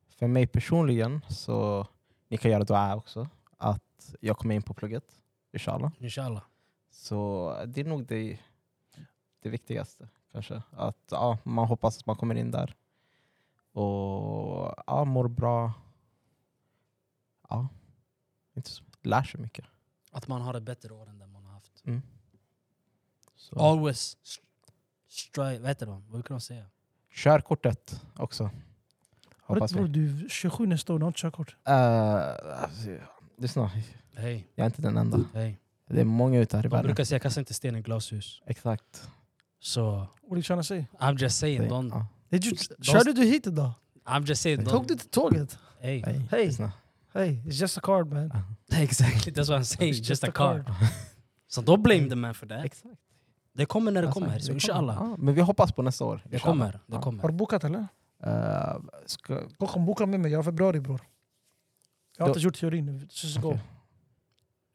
Speaker 2: För mig personligen så, ni kan göra dua också, att jag kommer in på plugget. Inshallah.
Speaker 1: Inshallah.
Speaker 2: Så det är nog det, det viktigaste kanske. Att ja, man hoppas att man kommer in där. Och ja, mår bra. Ja, inte så, lär sig mycket.
Speaker 1: Att man har ett bättre år än det man har haft.
Speaker 2: Mm. Så.
Speaker 1: Always st- strive... Vad heter det? Vad kan man säga?
Speaker 2: Körkortet också. Hoppas vi.
Speaker 3: Bror, du är 27 nästa år, du har inte körkort.
Speaker 2: Eh, alltså, lyssna,
Speaker 1: Hej,
Speaker 2: jag är inte den enda.
Speaker 1: hej.
Speaker 2: Det är många ute här i
Speaker 1: Man
Speaker 2: världen.
Speaker 1: brukar säga kasta inte sten i glashus.
Speaker 2: Exakt.
Speaker 1: Så,
Speaker 3: What are you trying to say?
Speaker 1: I'm just saying. Don't,
Speaker 2: Ja.
Speaker 3: Did you, körde du hit idag?
Speaker 1: I'm just saying.
Speaker 3: Tog du
Speaker 1: Don't,
Speaker 3: till tåget?
Speaker 1: hey.
Speaker 2: Nej,
Speaker 3: Hej.
Speaker 2: lyssna.
Speaker 3: Hey, it's just a card man.
Speaker 1: Exactly, that's what I'm saying. Just, a car. Så don't blame the man for that.
Speaker 2: Exakt.
Speaker 1: Det kommer när det
Speaker 2: Alltså,
Speaker 1: kommer. Så inshallah.
Speaker 2: Ja, men vi hoppas på nästa år.
Speaker 1: Det kommer. Det
Speaker 2: Ja.
Speaker 3: Har
Speaker 1: kommer.
Speaker 3: du bokat eller?
Speaker 2: Eh, ska,
Speaker 3: Kockan boka med mig, jag har februari bror. Jag har
Speaker 2: Då-
Speaker 3: inte gjort teorin nu. It's Just go.
Speaker 2: Okej.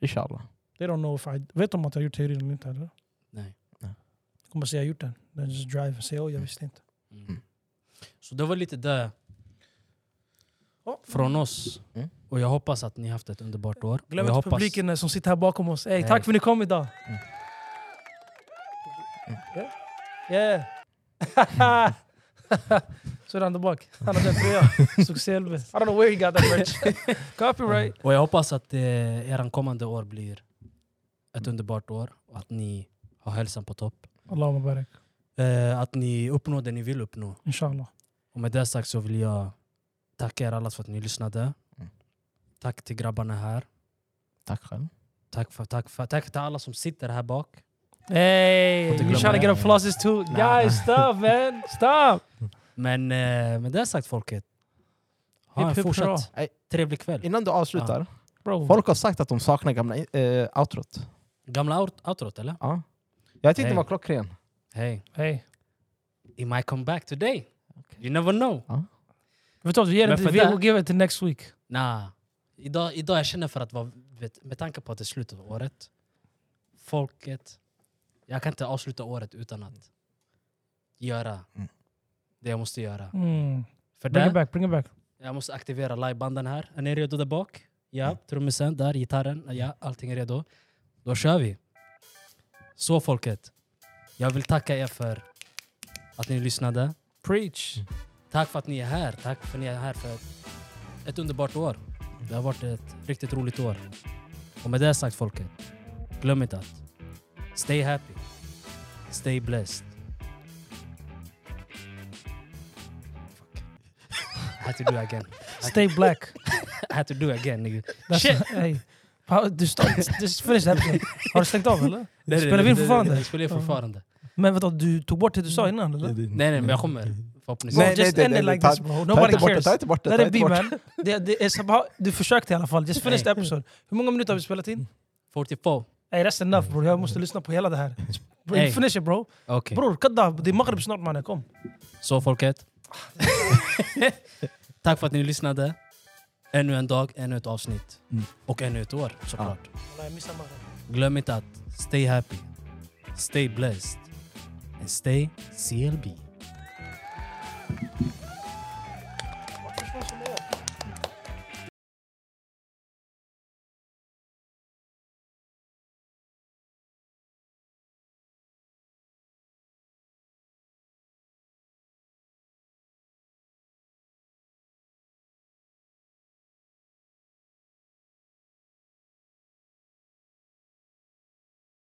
Speaker 2: inshallah.
Speaker 3: They don't know if I... Vet de att jag har gjort teorin eller inte eller?
Speaker 1: Nej.
Speaker 3: Jag kommer säga jag har gjort den. Then just drive och säga oh jag visste inte.
Speaker 1: Mm. Så det var lite det
Speaker 3: Oh,
Speaker 1: från oss.
Speaker 2: Mm.
Speaker 1: Och jag hoppas att ni haft ett underbart år. Och
Speaker 3: glöm
Speaker 1: jag
Speaker 3: inte
Speaker 1: hoppas,
Speaker 3: publiken eh, som sitter här bakom oss. Hey,
Speaker 1: Nej.
Speaker 3: tack för att ni kom idag.
Speaker 2: Mm.
Speaker 3: Yeah. Yeah. Så är han där bak. Han har den tröjan. Stod CLB. I don't know where he got that merch. Copyright.
Speaker 1: Och jag hoppas att eh, eran kommande år blir ett underbart år och att ni har hälsan på topp.
Speaker 3: Allahumma barak.
Speaker 1: Eh, att ni uppnår det ni vill uppnå.
Speaker 3: Inshallah.
Speaker 1: Och med det sagt så vill jag tacka er alla för att ni lyssnade.
Speaker 2: Mm.
Speaker 1: Tack till grabbarna här.
Speaker 2: Tack själv.
Speaker 1: Tack, för, tack, för, tack till alla som sitter här bak.
Speaker 3: Hey,
Speaker 1: Inte
Speaker 3: you
Speaker 1: glömma
Speaker 3: trying to
Speaker 1: det.
Speaker 3: get applauses too?
Speaker 2: Nah.
Speaker 3: Guys, stop man. Stop.
Speaker 1: Men eh, med det sagt folket, ha
Speaker 3: Hipp,
Speaker 1: en
Speaker 3: hipp, hurra.
Speaker 1: fortsatt trevlig kväll.
Speaker 2: Innan du avslutar.
Speaker 3: Bro.
Speaker 2: Folk har sagt att de saknar gamla eh, outrot.
Speaker 1: Gamla out- outrot eller?
Speaker 2: Ja. Jag tyckte
Speaker 1: Hej.
Speaker 2: den var klockren.
Speaker 1: Hey,
Speaker 3: Hey.
Speaker 1: it might come back today. You never know.
Speaker 3: Vet du vad, vi ger
Speaker 1: Men
Speaker 3: det,
Speaker 1: för
Speaker 3: vi
Speaker 1: det-
Speaker 3: we'll give it to next week.
Speaker 1: Nah. Idag, idag jag känner för att vara, vet, med tanke på att det är slutet av året, folket, jag kan inte avsluta året utan att göra
Speaker 2: Mm.
Speaker 1: det jag måste göra.
Speaker 3: Mm.
Speaker 1: För
Speaker 3: Bring it
Speaker 1: det,
Speaker 3: back, bring it back.
Speaker 1: jag måste aktivera livebanden här. Är ni redo där bak? Ja, trummisen där, gitarren, ja, allting är redo. Då kör vi! Så folket, jag vill tacka er för att ni lyssnade.
Speaker 3: Preach.
Speaker 1: Mm. Tack för att ni är här. Tack för att ni är här för ett underbart år. Det har varit ett riktigt roligt år. Och med det sagt folket, glöm inte att stay happy, stay blessed. Fuck. I had to do again.
Speaker 3: Stay black.
Speaker 1: I had to do again nigga.
Speaker 3: That's
Speaker 1: Shit.
Speaker 3: hey. Pa- Du stop, just finish that. Har du stängt av eller?
Speaker 1: Nej, nej,
Speaker 3: spelar
Speaker 1: nej,
Speaker 3: vi in
Speaker 1: nej,
Speaker 3: fortfarande?
Speaker 1: nej, Det spelar in fortfarande.
Speaker 3: Men vänta, du tog bort det du sa innan eller?
Speaker 1: Nej nej men jag kommer förhoppningsvis.
Speaker 2: Nej,
Speaker 3: Bro,
Speaker 2: nej,
Speaker 3: just
Speaker 2: nej,
Speaker 3: end
Speaker 2: nej,
Speaker 3: it like
Speaker 2: ta-
Speaker 3: this bro.
Speaker 2: Ta
Speaker 3: Nobody
Speaker 2: inte bort det,
Speaker 3: cares.
Speaker 2: ta inte bort det.
Speaker 3: Let
Speaker 2: Ta
Speaker 3: it
Speaker 2: inte
Speaker 3: be
Speaker 2: bort det.
Speaker 3: man. Det, det är så bara, du försökte i alla fall. Just finish the
Speaker 1: Nej. Mm.
Speaker 3: episode. Hur många minuter har vi spelat in?
Speaker 1: 44.
Speaker 3: Hey, that's enough bro. Jag måste lyssna på hela det här.
Speaker 1: Hey.
Speaker 3: Finish it bro.
Speaker 1: Okej.
Speaker 3: Bror, kadda. Det är Maghrib snart mannen. Kom.
Speaker 1: Så folket. Tack för att ni lyssnade. Ännu en dag, ännu ett avsnitt.
Speaker 4: Mm.
Speaker 1: Och ännu ett år såklart.
Speaker 3: Alla, jag missar Maghreb.
Speaker 1: Glöm inte att stay happy, stay blessed and stay CLB.